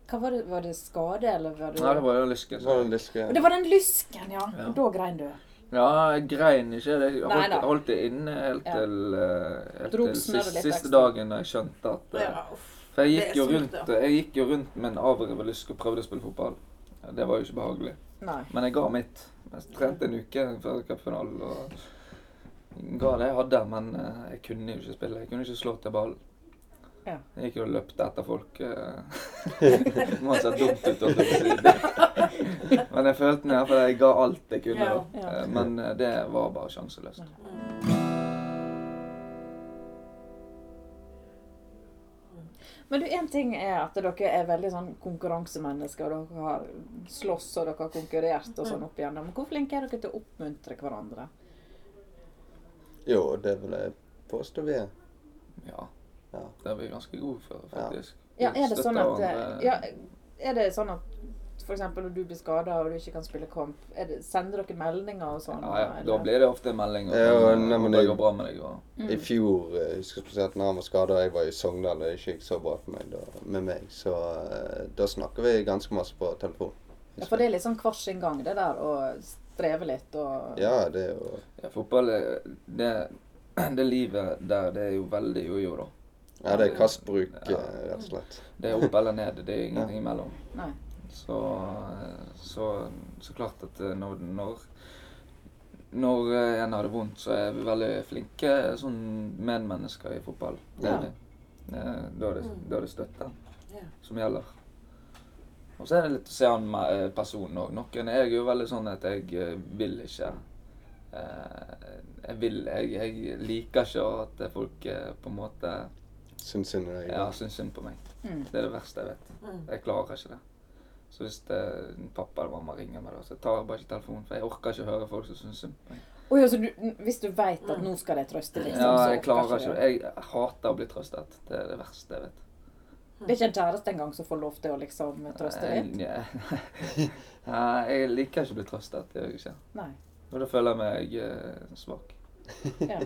Speaker 2: Hva var det, var det skade, eller var det
Speaker 4: Nei, det var jo lyske.
Speaker 3: det
Speaker 4: Så.
Speaker 3: var en lyske.
Speaker 2: Og Det var den lysken, ja.
Speaker 4: Ja.
Speaker 2: Og Da grein du.
Speaker 4: Ja, jeg grein ikke. Det- Jeg
Speaker 2: Nei
Speaker 4: holdt,
Speaker 2: da.
Speaker 4: holdt det inne helt
Speaker 2: Ja.
Speaker 4: til, eh, helt
Speaker 2: Drog
Speaker 4: til
Speaker 2: snørret
Speaker 4: siste,
Speaker 2: litt
Speaker 4: siste
Speaker 2: ekstra.
Speaker 4: dagen da jeg skjønte at eh,
Speaker 1: Ja, uff.
Speaker 4: For jeg
Speaker 1: Det
Speaker 4: gikk,
Speaker 1: er
Speaker 4: jo
Speaker 1: sunt,
Speaker 4: rundt, eh, jeg gikk jo rundt med en avrevet lysk og prøvde å spille fotball. Det var jo ikke behagelig.
Speaker 2: Nei.
Speaker 4: Men jeg ga mitt. Jeg trente en uke før cupfinalen og ga det jeg hadde, men eh, jeg kunne jo ikke spille. Jeg kunne ikke slå til ballen.
Speaker 2: Ja.
Speaker 4: Jeg gikk jo og løpte etter folk. eh. Må ha sett dumt ut. holdt jeg på å si. Men jeg følte meg iallfall jeg ga alt jeg kunne. da.
Speaker 2: Ja.
Speaker 4: Eh, Men eh, det var bare sjanseløst.
Speaker 2: Men du, én ting er at dere er veldig sånn konkurransemennesker, og dere har slåss og dere har konkurrert og sånn opp igjennom. Hvor flinke er dere til å oppmuntre hverandre?
Speaker 3: Jo, det vil jeg påstå vi er.
Speaker 4: Ja.
Speaker 3: Ja.
Speaker 4: Det er vi ganske gode for, faktisk.
Speaker 2: Ja, er det
Speaker 4: Støtter
Speaker 2: sånn at
Speaker 4: hverandre.
Speaker 2: ja,
Speaker 4: eh,
Speaker 2: Er det sånn at f.eks. når du blir skada og du ikke kan spille kamp, er det, sender dere meldinger og sånn?
Speaker 4: Ja, ja. Da
Speaker 2: eller?
Speaker 4: blir det ofte en melding om
Speaker 3: Ja,
Speaker 4: eh,
Speaker 3: nei, men
Speaker 4: om
Speaker 3: jeg-
Speaker 4: det går bra med deg. Og...
Speaker 2: Mm.
Speaker 3: I fjor eh, jeg husker spesielt når han var skada og jeg var i Sogndal, og det gikk så bra for meg da, med meg. Så eh, da snakker vi ganske masse på telefon.
Speaker 2: ja, For det er litt sånn hver sin gang, det der å streve litt og
Speaker 3: Ja, det er jo
Speaker 4: Ja, fotball er det, det livet der, det er jo veldig jojo, da.
Speaker 3: Ja, det er kastbruk,
Speaker 4: Ja.
Speaker 3: eh, rett og slett.
Speaker 4: Det er opp eller ned, det er ingenting imellom.
Speaker 2: Nei.
Speaker 4: Så, så, så klart at eh, når, når, når eh, en har det vondt, så er vi veldig flinke sånn medmennesker i fotball. Det
Speaker 3: Ja.
Speaker 4: er vi. Eh, Da er det, da er det støtte
Speaker 1: Ja.
Speaker 4: som gjelder. Og så er det litt å se an med eh, personen òg. Noen er jeg jo veldig sånn at jeg eh, vil ikke eh, Jeg vil jeg, jeg liker ikke at folk eh, på en måte
Speaker 3: Syns hun er
Speaker 4: ja, syns synd på meg.
Speaker 2: Mm.
Speaker 4: Det er det verste jeg vet.
Speaker 1: Mm.
Speaker 4: Jeg klarer ikke det. Så hvis det, pappa eller mamma ringer meg, da, så tar jeg bare ikke telefonen. For jeg orker ikke høre folk som syns synd på meg.
Speaker 2: Å ja, så altså, du, hvis du veit at nå skal de trøste, liksom,
Speaker 4: Ja,
Speaker 2: så
Speaker 4: jeg
Speaker 2: orker
Speaker 4: klarer
Speaker 2: du
Speaker 4: ikke det. Jeg hater å bli trøstet. Det er det verste jeg vet.
Speaker 2: Det er ikke en kjæreste engang som får lov til å liksom trøste litt?
Speaker 4: Jeg, Nei, jeg liker ikke å bli trøstet. Det gjør jeg ikke.
Speaker 2: Nei.
Speaker 4: Og da føler jeg meg eh, svak.
Speaker 2: Ja.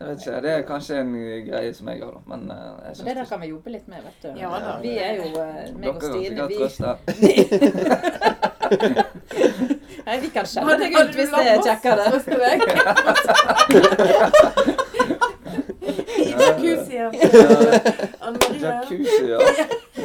Speaker 4: Jeg vet ikke, Det er kanskje en greie som jeg har, da. Men eh, jeg
Speaker 2: Men
Speaker 4: syns
Speaker 2: det der kan vi jobbe litt med, vet du.
Speaker 1: Ja da.
Speaker 2: Vi er jo eh, meg
Speaker 4: Dere
Speaker 2: og
Speaker 4: kan
Speaker 2: Stine,
Speaker 4: sikkert
Speaker 2: vi
Speaker 4: trøste.
Speaker 2: Nei, vi kan skjelle
Speaker 1: Hadde-
Speaker 2: deg
Speaker 1: hadde
Speaker 2: ut
Speaker 1: du
Speaker 2: hvis det
Speaker 1: latt
Speaker 2: er
Speaker 1: oss
Speaker 2: kjekkere.
Speaker 1: trøste deg? I jacuzzien. Anne Marie.
Speaker 4: Jacuzzi, ja.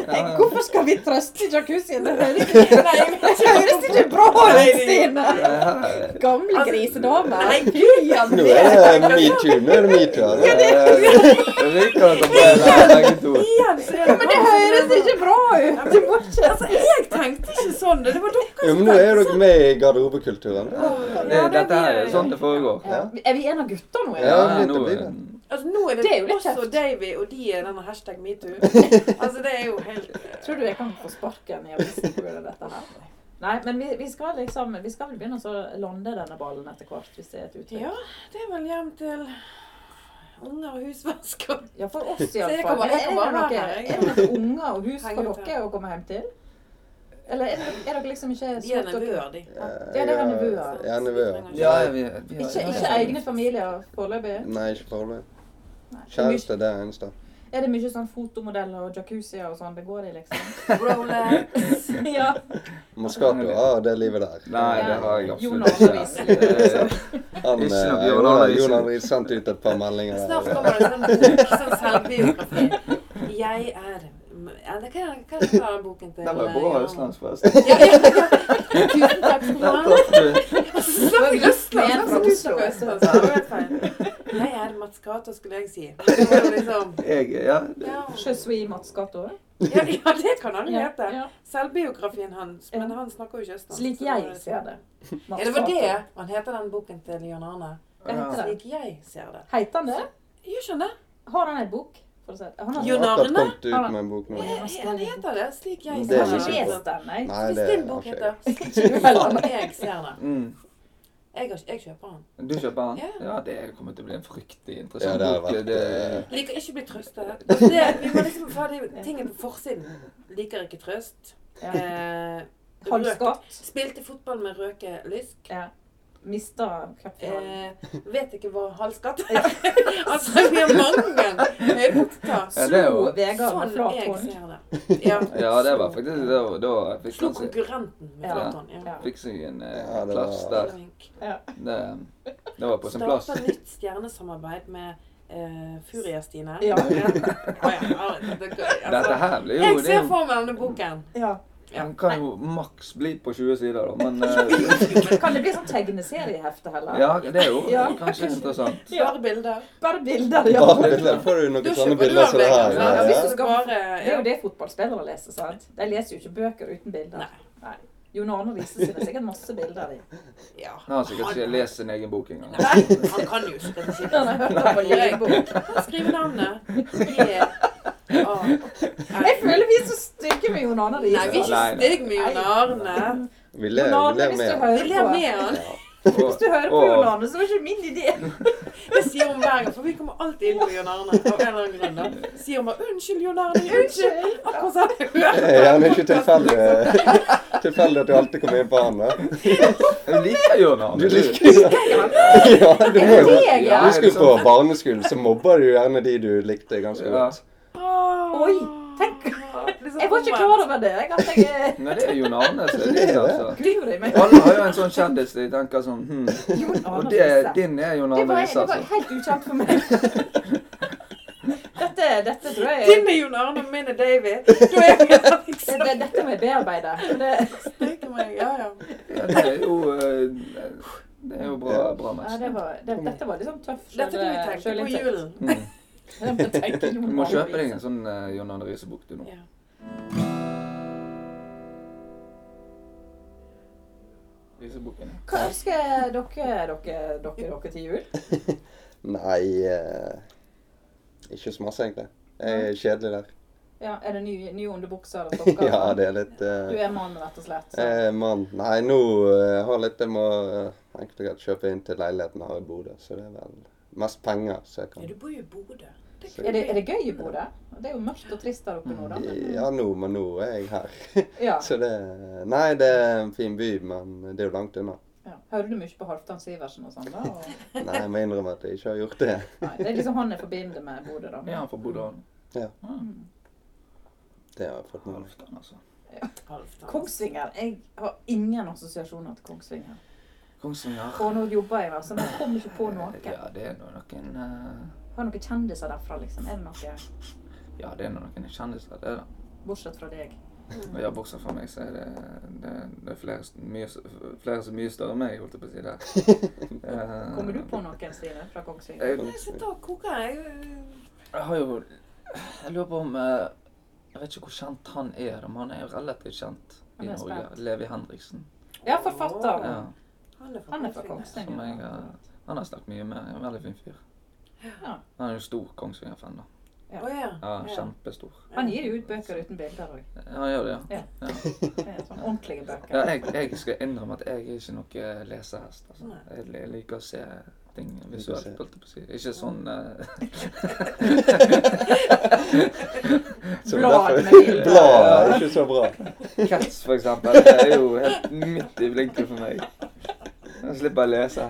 Speaker 2: Nei, hvorfor skal vi trøste i jacuzzien? Det høres ikke, Nei, det høres ikke bra ut, Stine!
Speaker 4: Ja,
Speaker 2: Gamle
Speaker 1: Altså,
Speaker 2: grisedame!
Speaker 3: Nå er det metoo. Nå er det metoo. her.
Speaker 4: Jeg liker at dere bare lærer begge to.
Speaker 1: Igjen så er det
Speaker 2: Men det høres ikke bra ut! Du må ikke
Speaker 1: Altså, jeg tenkte ikke sånn. Det var dere
Speaker 3: Jo, men nå er jo dere med i garderobekulturen.
Speaker 4: Det, dette her er jo sånn det foregår.
Speaker 3: Ja.
Speaker 2: Er vi en av gutta nå?
Speaker 3: Ja,
Speaker 4: Nei,
Speaker 3: litt
Speaker 4: nå,
Speaker 3: av det.
Speaker 1: Altså, nå er
Speaker 2: Det
Speaker 1: det,
Speaker 2: er jo litt
Speaker 1: oss og
Speaker 2: kjeft.
Speaker 1: Davy, og de er denne hashtag metoo. Altså, det er jo helt
Speaker 2: Tror du jeg kan få sparken i avisen pga. dette her? Nei, men vi, vi skal liksom Vi skal vel begynne å så lande denne ballen etter hvert, hvis det er et uttrykk.
Speaker 1: Ja, det er vel hjem til unger og husvask og
Speaker 2: Ja, for oss
Speaker 1: jeg kan
Speaker 2: iallfall.
Speaker 1: bare-
Speaker 2: Er
Speaker 1: jeg
Speaker 2: det
Speaker 1: kan
Speaker 2: noe-
Speaker 1: bare
Speaker 2: er
Speaker 1: være her, jeg.
Speaker 2: det noen unger og hus
Speaker 1: Henger
Speaker 2: for
Speaker 1: ut
Speaker 2: dere å komme hjem til? Eller er dere, er dere liksom ikke
Speaker 1: De er
Speaker 2: slutt å-
Speaker 1: nevøer, de.
Speaker 2: Ja, det er nevøer.
Speaker 3: Ja, nevøer.
Speaker 4: Ja, vi, vi
Speaker 2: Ikke, ikke egne familier foreløpig?
Speaker 3: Nei, ikke farlig.
Speaker 2: Nei.
Speaker 3: Kjæreste, det er eneste.
Speaker 2: Er det mye sånn fotomodeller og jacuzzier og sånn det går i, liksom?
Speaker 1: Rolex.
Speaker 2: ja.
Speaker 3: Moscato, ah, det livet der.
Speaker 4: Nei, det har jeg
Speaker 2: Jon
Speaker 4: absolutt ikke.
Speaker 2: Arne
Speaker 4: Eh,
Speaker 3: Han,
Speaker 4: Ikke noe
Speaker 3: eh,
Speaker 4: Bjørn
Speaker 3: Jon
Speaker 4: Arne Riise.
Speaker 3: Jon Arne Riise sendte ut et par meldinger.
Speaker 1: Snart
Speaker 3: der.
Speaker 1: kommer det en sånn, sånn selvbiografi. Jeg er ja, det kan jeg, kan jeg ta boken til.
Speaker 4: Den var
Speaker 1: eh,
Speaker 4: bra
Speaker 1: Jan.
Speaker 4: østlandsfest.
Speaker 1: Ja, ja, ja. Tusen takk skal du ha. Snakk i Østland,
Speaker 2: Men
Speaker 1: snakk
Speaker 2: fra
Speaker 1: som tusen på
Speaker 2: Oslo.
Speaker 1: Østland. så det var helt feil. Jeg er Mats Cato, skulle jeg si. Det var jo liksom,
Speaker 4: Jeg, ja.
Speaker 1: ja.
Speaker 2: Je suis Mats Gato.
Speaker 1: Ja, ja, det kan han jo
Speaker 2: Ja,
Speaker 1: hete.
Speaker 2: ja.
Speaker 1: Selvbiografien hans, men han snakker jo ikke østlandsk.
Speaker 2: Slik
Speaker 1: så
Speaker 2: jeg
Speaker 1: det-
Speaker 2: ser det. Mats
Speaker 1: Ja, det var
Speaker 2: Gato.
Speaker 1: det han heter, den boken til Jan Arne.
Speaker 2: Hva heter det?
Speaker 1: Slik jeg ser det.
Speaker 2: Heter han det?
Speaker 1: Gjør ikke han det?
Speaker 2: Har han ei bok? For å si det. Han har
Speaker 1: Jo,
Speaker 3: Han har akkurat
Speaker 1: Arne?
Speaker 3: kommet ut med en bok nå.
Speaker 1: Eh, Han heter det. Slik jeg
Speaker 3: Det
Speaker 1: ser
Speaker 3: er
Speaker 2: Jeg har
Speaker 1: det.
Speaker 2: ikke
Speaker 3: ikke
Speaker 2: lest den, nei.
Speaker 3: Nei,
Speaker 1: Hvis
Speaker 3: det
Speaker 1: din
Speaker 3: har
Speaker 1: bok
Speaker 3: ikke jeg.
Speaker 1: heter Slik jeg ser det.
Speaker 4: Mm.
Speaker 1: Jeg, har- jeg kjøper den.
Speaker 4: Du kjøper den?
Speaker 1: Ja.
Speaker 4: Ja, det kommer til å bli en fryktelig
Speaker 3: Ja,
Speaker 4: interessant
Speaker 3: det har
Speaker 4: bok.
Speaker 3: vært
Speaker 4: Det,
Speaker 3: eh,
Speaker 1: Liker ikke å bli trøstet. Altså, det, vi må liksom få de tingene på forsiden. Liker ikke trøst.
Speaker 2: Ja.
Speaker 1: Eh, røk.
Speaker 2: Halvskatt.
Speaker 1: Spilte fotball med røke lysk.
Speaker 2: Ja. Mista cupfinalen.
Speaker 1: Eh, vet ikke hva halvskatt er. altså, vi har mange høypunkter.
Speaker 4: ja, det er jo
Speaker 2: Slo Vegard med
Speaker 1: Sånn
Speaker 2: flat
Speaker 1: jeg
Speaker 2: hånd.
Speaker 1: ser det. Ja.
Speaker 4: Ja, det var faktisk Da, da fikk
Speaker 1: Slo
Speaker 4: han seg,
Speaker 1: konkurrenten med
Speaker 2: Ja.
Speaker 1: flat hånd. Ja.
Speaker 2: Ja.
Speaker 4: fikk seg en eh,
Speaker 3: Ja, det
Speaker 4: plass
Speaker 3: var-
Speaker 4: der.
Speaker 1: Flink.
Speaker 4: Det, det var på sin plass.
Speaker 1: Starta nytt stjernesamarbeid med eh, Furia-Stine.
Speaker 2: Ja.
Speaker 1: Å ja, ja, det- det-
Speaker 4: Dette
Speaker 1: altså,
Speaker 4: her blir jo
Speaker 1: Jeg ser
Speaker 4: din
Speaker 1: for meg denne boken.
Speaker 2: Ja.
Speaker 4: Den kan jo maks bli på 20 sider, da, men eh,
Speaker 2: Kan det bli sånn tegneseriehefte heller?
Speaker 4: Ja, det er jo
Speaker 2: Ja.
Speaker 4: kanskje interessant.
Speaker 2: Ja.
Speaker 1: Bare bilder.
Speaker 2: Bare bilder.
Speaker 3: Ja,
Speaker 2: Ja.
Speaker 3: men da får du
Speaker 1: Du
Speaker 3: noen sånne
Speaker 1: kjøper du
Speaker 3: bilder
Speaker 1: av
Speaker 3: som det
Speaker 1: Vegard.
Speaker 3: her. eh,
Speaker 1: sant?
Speaker 2: Ja,
Speaker 1: Hvis
Speaker 3: Ja,
Speaker 1: du skal bare
Speaker 2: Det er jo det fotballspillere leser, sant? De leser jo ikke bøker uten bilder.
Speaker 1: Nei.
Speaker 2: Nei. Jon Arne Riise sine er sikkert masse bilder i.
Speaker 1: Ja.
Speaker 4: Han har sikkert ikke lest sin egen bok engang.
Speaker 1: Nei, han kan jo ikke dette
Speaker 2: Han
Speaker 1: skipet.
Speaker 2: har hørt det på lydbok.
Speaker 1: Skriv navnet. G-A-N.
Speaker 2: Jeg føler vi er så stygge med Jon Arne
Speaker 1: Nei, vi er
Speaker 2: Riise.
Speaker 1: ikke stygge med Jon Arne.
Speaker 3: ja. Vi ler
Speaker 2: Jon
Speaker 3: vi
Speaker 2: Arne,
Speaker 3: ler
Speaker 2: hvis du
Speaker 3: mer.
Speaker 1: Vi ler
Speaker 2: hører på.
Speaker 1: med han.
Speaker 2: Hvis du hører på
Speaker 4: Og-
Speaker 2: Jon Arne, så var ikke min idé.
Speaker 1: Det sier hun hver gang, for vi kommer alltid inn på Jon Arne. Av en eller annen grunn da. Sier hun bare 'Unnskyld, Jon Arne'. Unnskyld. Akkurat sånn.
Speaker 3: Ja, men det er ikke tilfeldig eh, tilfeldig at du alltid kommer inn på han. da.
Speaker 4: Jeg liker Jørn Arne.
Speaker 3: Du liker jo ja, du må jo
Speaker 2: Jeg
Speaker 4: Ja,
Speaker 2: er
Speaker 3: Du
Speaker 4: er det
Speaker 3: skulle på
Speaker 4: sånn?
Speaker 3: barneskolen, så mobba du gjerne de du likte ganske
Speaker 4: Ja.
Speaker 3: godt.
Speaker 2: Oi, tenk.
Speaker 1: Liksom
Speaker 2: Jeg var ikke klar over det. Jeg at jeg er
Speaker 4: Nei, det er Jon Arne som er det, altså.
Speaker 2: guri meg.
Speaker 4: Alle har jo en sånn kjendis de tenker sånn hm.
Speaker 2: Jon Arne
Speaker 4: Og det,
Speaker 2: Riise.
Speaker 4: din er Jon
Speaker 2: Det
Speaker 4: Arne
Speaker 2: var,
Speaker 4: Riise,
Speaker 2: det var
Speaker 4: altså.
Speaker 2: helt ukjent for meg. Dette, dette tror jeg
Speaker 1: Din er Jon Arne, og min er Davy. Da er vi
Speaker 2: det,
Speaker 1: liksom
Speaker 2: det, Dette må jeg bearbeide. for Det,
Speaker 1: Stygge meg. Ja, ja.
Speaker 4: Ja, det er jo eh, Det er jo bra, bra
Speaker 2: ja,
Speaker 4: match.
Speaker 2: det var, det, dette var liksom tøff
Speaker 1: Dette er det vi tenkte på julen.
Speaker 2: sånn.
Speaker 4: Mm.
Speaker 2: julen.
Speaker 4: Du må kjøpe deg en sånn eh, Jon Arne Riise-bok du nå.
Speaker 1: Ja.
Speaker 4: Riise-boken.
Speaker 2: Hva ønsker dere dere, dere, dere til jul?
Speaker 3: Nei eh, Ikke så masse, egentlig. Jeg er kjedelig der.
Speaker 2: Ja, er det nye ny underbukser og sokker?
Speaker 3: Ja, det er litt eh,
Speaker 2: Du er mann, rett og slett. Så.
Speaker 3: eh, Mann. Nei, nå eh, har litt Jeg må eh, enkelt og greit kjøpe inn til leiligheten jeg har i Bodø, så det er vel mest penger så
Speaker 1: Ja,
Speaker 3: jeg kan
Speaker 1: du bor jo i Bodø. Det
Speaker 2: Er det, er det gøy i Bodø? Det er jo mørkt og trist der oppe nå, da.
Speaker 3: Ja, nå, men nå er jeg her.
Speaker 2: Ja.
Speaker 3: Så det Nei, det er en fin by, men det er jo langt unna.
Speaker 2: ja. Hører du mye på Halvdan Sivertsen og sånn, da? Og...
Speaker 3: Nei, jeg må innrømme at jeg ikke har gjort det.
Speaker 2: Nei, det er liksom han jeg forbinder med Bodø, da.
Speaker 4: Er han fra Ah. Bodø? han?
Speaker 3: Det har jeg fått med meg.
Speaker 4: Halvdan, altså.
Speaker 1: Halvdan.
Speaker 2: Kongsvinger. Jeg har ingen assosiasjoner til Kongsvinger.
Speaker 4: Kongsvinger.
Speaker 2: Og nå jobber jeg, altså. Men jeg kommer ikke på noe.
Speaker 4: Ja, det er nå noen eh,
Speaker 2: Har noen kjendiser derfra, liksom? Er det noe
Speaker 4: Ja, det er nå noen kjendiser, det, da.
Speaker 2: bortsett fra deg?
Speaker 4: Ja, bortsett fra meg, så er det, det, det er flere, s- mye, s- flere som er mye større enn meg, holdt jeg på å si der. Eh,
Speaker 2: Kommer du på noen, Stine, fra Kongsvinger?
Speaker 4: Jeg,
Speaker 1: Nei, så da koker jeg.
Speaker 4: jeg har jo Jeg lurer på om eh, Jeg vet ikke hvor kjent han er, da, men han er jo relativt kjent
Speaker 2: Han
Speaker 4: i
Speaker 2: er
Speaker 4: Norge.
Speaker 2: spent.
Speaker 4: Levi Henriksen.
Speaker 2: Ja, forfatteren.
Speaker 4: Ja,
Speaker 1: Han er fra
Speaker 2: Han er fra
Speaker 1: Kongsvinger.
Speaker 4: som jeg
Speaker 2: Kongsvinger.
Speaker 4: har, han har jeg snakket mye med. En veldig fin fyr.
Speaker 2: Ja.
Speaker 4: Han er jo stor Kongsvinger-fan, da.
Speaker 2: Ja.
Speaker 1: Å ja.
Speaker 4: Ja, Kjempestor.
Speaker 2: Han gir jo ut bøker uten bilder òg.
Speaker 4: Han gjør det, ja.
Speaker 2: Ja. Sånn ordentlige
Speaker 4: ja
Speaker 2: bøker.
Speaker 4: jeg, jeg skal innrømme at jeg er ikke noe lesehest. Altså.
Speaker 1: Nei.
Speaker 4: Jeg li- liker å se ting
Speaker 3: å
Speaker 4: visuelt,
Speaker 3: se.
Speaker 4: holdt jeg på å si. Ikke sånn eh,
Speaker 3: Så
Speaker 2: Blad
Speaker 3: derfor-
Speaker 2: med bilder.
Speaker 3: Blad er ikke så bra.
Speaker 4: Cats, for eksempel. Det er jo helt midt i blinken for meg. Jeg slipper å lese.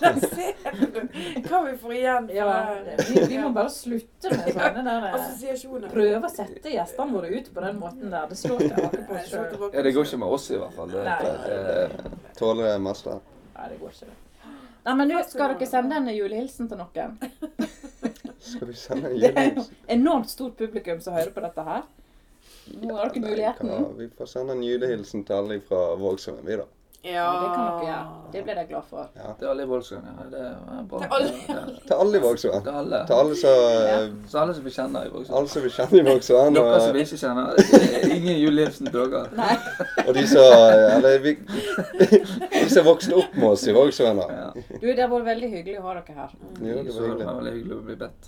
Speaker 1: Der ser du hva vi får igjen
Speaker 2: Ja,
Speaker 1: for
Speaker 2: vi, vi må bare slutte med sånne der eh,
Speaker 1: assosiasjoner.
Speaker 2: Prøve å sette gjestene våre ut på den måten der. Det slår tilbake på
Speaker 1: Nei,
Speaker 2: oss
Speaker 1: se
Speaker 2: sjøl.
Speaker 1: tilbake.
Speaker 4: Ja, det går ikke med oss, i hvert fall. Det, eh, det, det,
Speaker 3: Tåler det meste.
Speaker 2: Nei, det går ikke. det. Nei, men nå skal dere sende en julehilsen til noen.
Speaker 3: Skal vi sende en
Speaker 2: Det er jo
Speaker 3: julehilsen?
Speaker 2: enormt stort publikum som hører på dette her. Nå har dere muligheten.
Speaker 3: Hva? Vi får sende en julehilsen til alle fra Vågsøen, vi, da.
Speaker 1: Ja.
Speaker 2: Det kan dere gjøre. Det blir jeg glad for.
Speaker 4: det er alle i Vålsøen. Ja. Det er bra.
Speaker 1: Til alle.
Speaker 4: Ja,
Speaker 3: Til alle i Vågsøen.
Speaker 4: Til alle.
Speaker 3: Til alle som
Speaker 4: Så alle som vi kjenner i Vålsøen.
Speaker 3: alle som vi kjenner i Vågsøen.
Speaker 4: Dere
Speaker 3: Og,
Speaker 4: som vi ikke kjenner. det er Ingen julehilsen til dere.
Speaker 2: Nei,
Speaker 3: og de som Eller vi, de som vokste opp med oss i Vågsøen. da.
Speaker 4: Ja.
Speaker 2: du, det har vært veldig hyggelig å ha dere her.
Speaker 3: Jo, det
Speaker 4: Så
Speaker 3: var
Speaker 4: det
Speaker 3: hyggelig.
Speaker 4: var veldig hyggelig å bli bedt.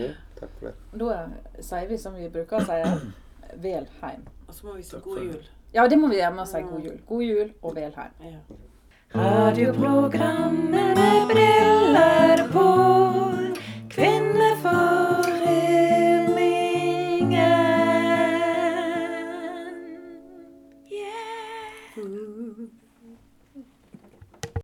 Speaker 3: Jo, takk for det.
Speaker 2: Da sier vi som vi bruker å si, vel heim.
Speaker 1: Og så må vi si
Speaker 4: Takk
Speaker 1: god
Speaker 4: for det.
Speaker 1: jul.
Speaker 2: Ja, det må vi gjerne si god jul. God jul og vel heim.
Speaker 1: Ja.
Speaker 5: Radioprogrammet med briller på.
Speaker 1: Mm.
Speaker 5: Kvinneforeningen. Yeah.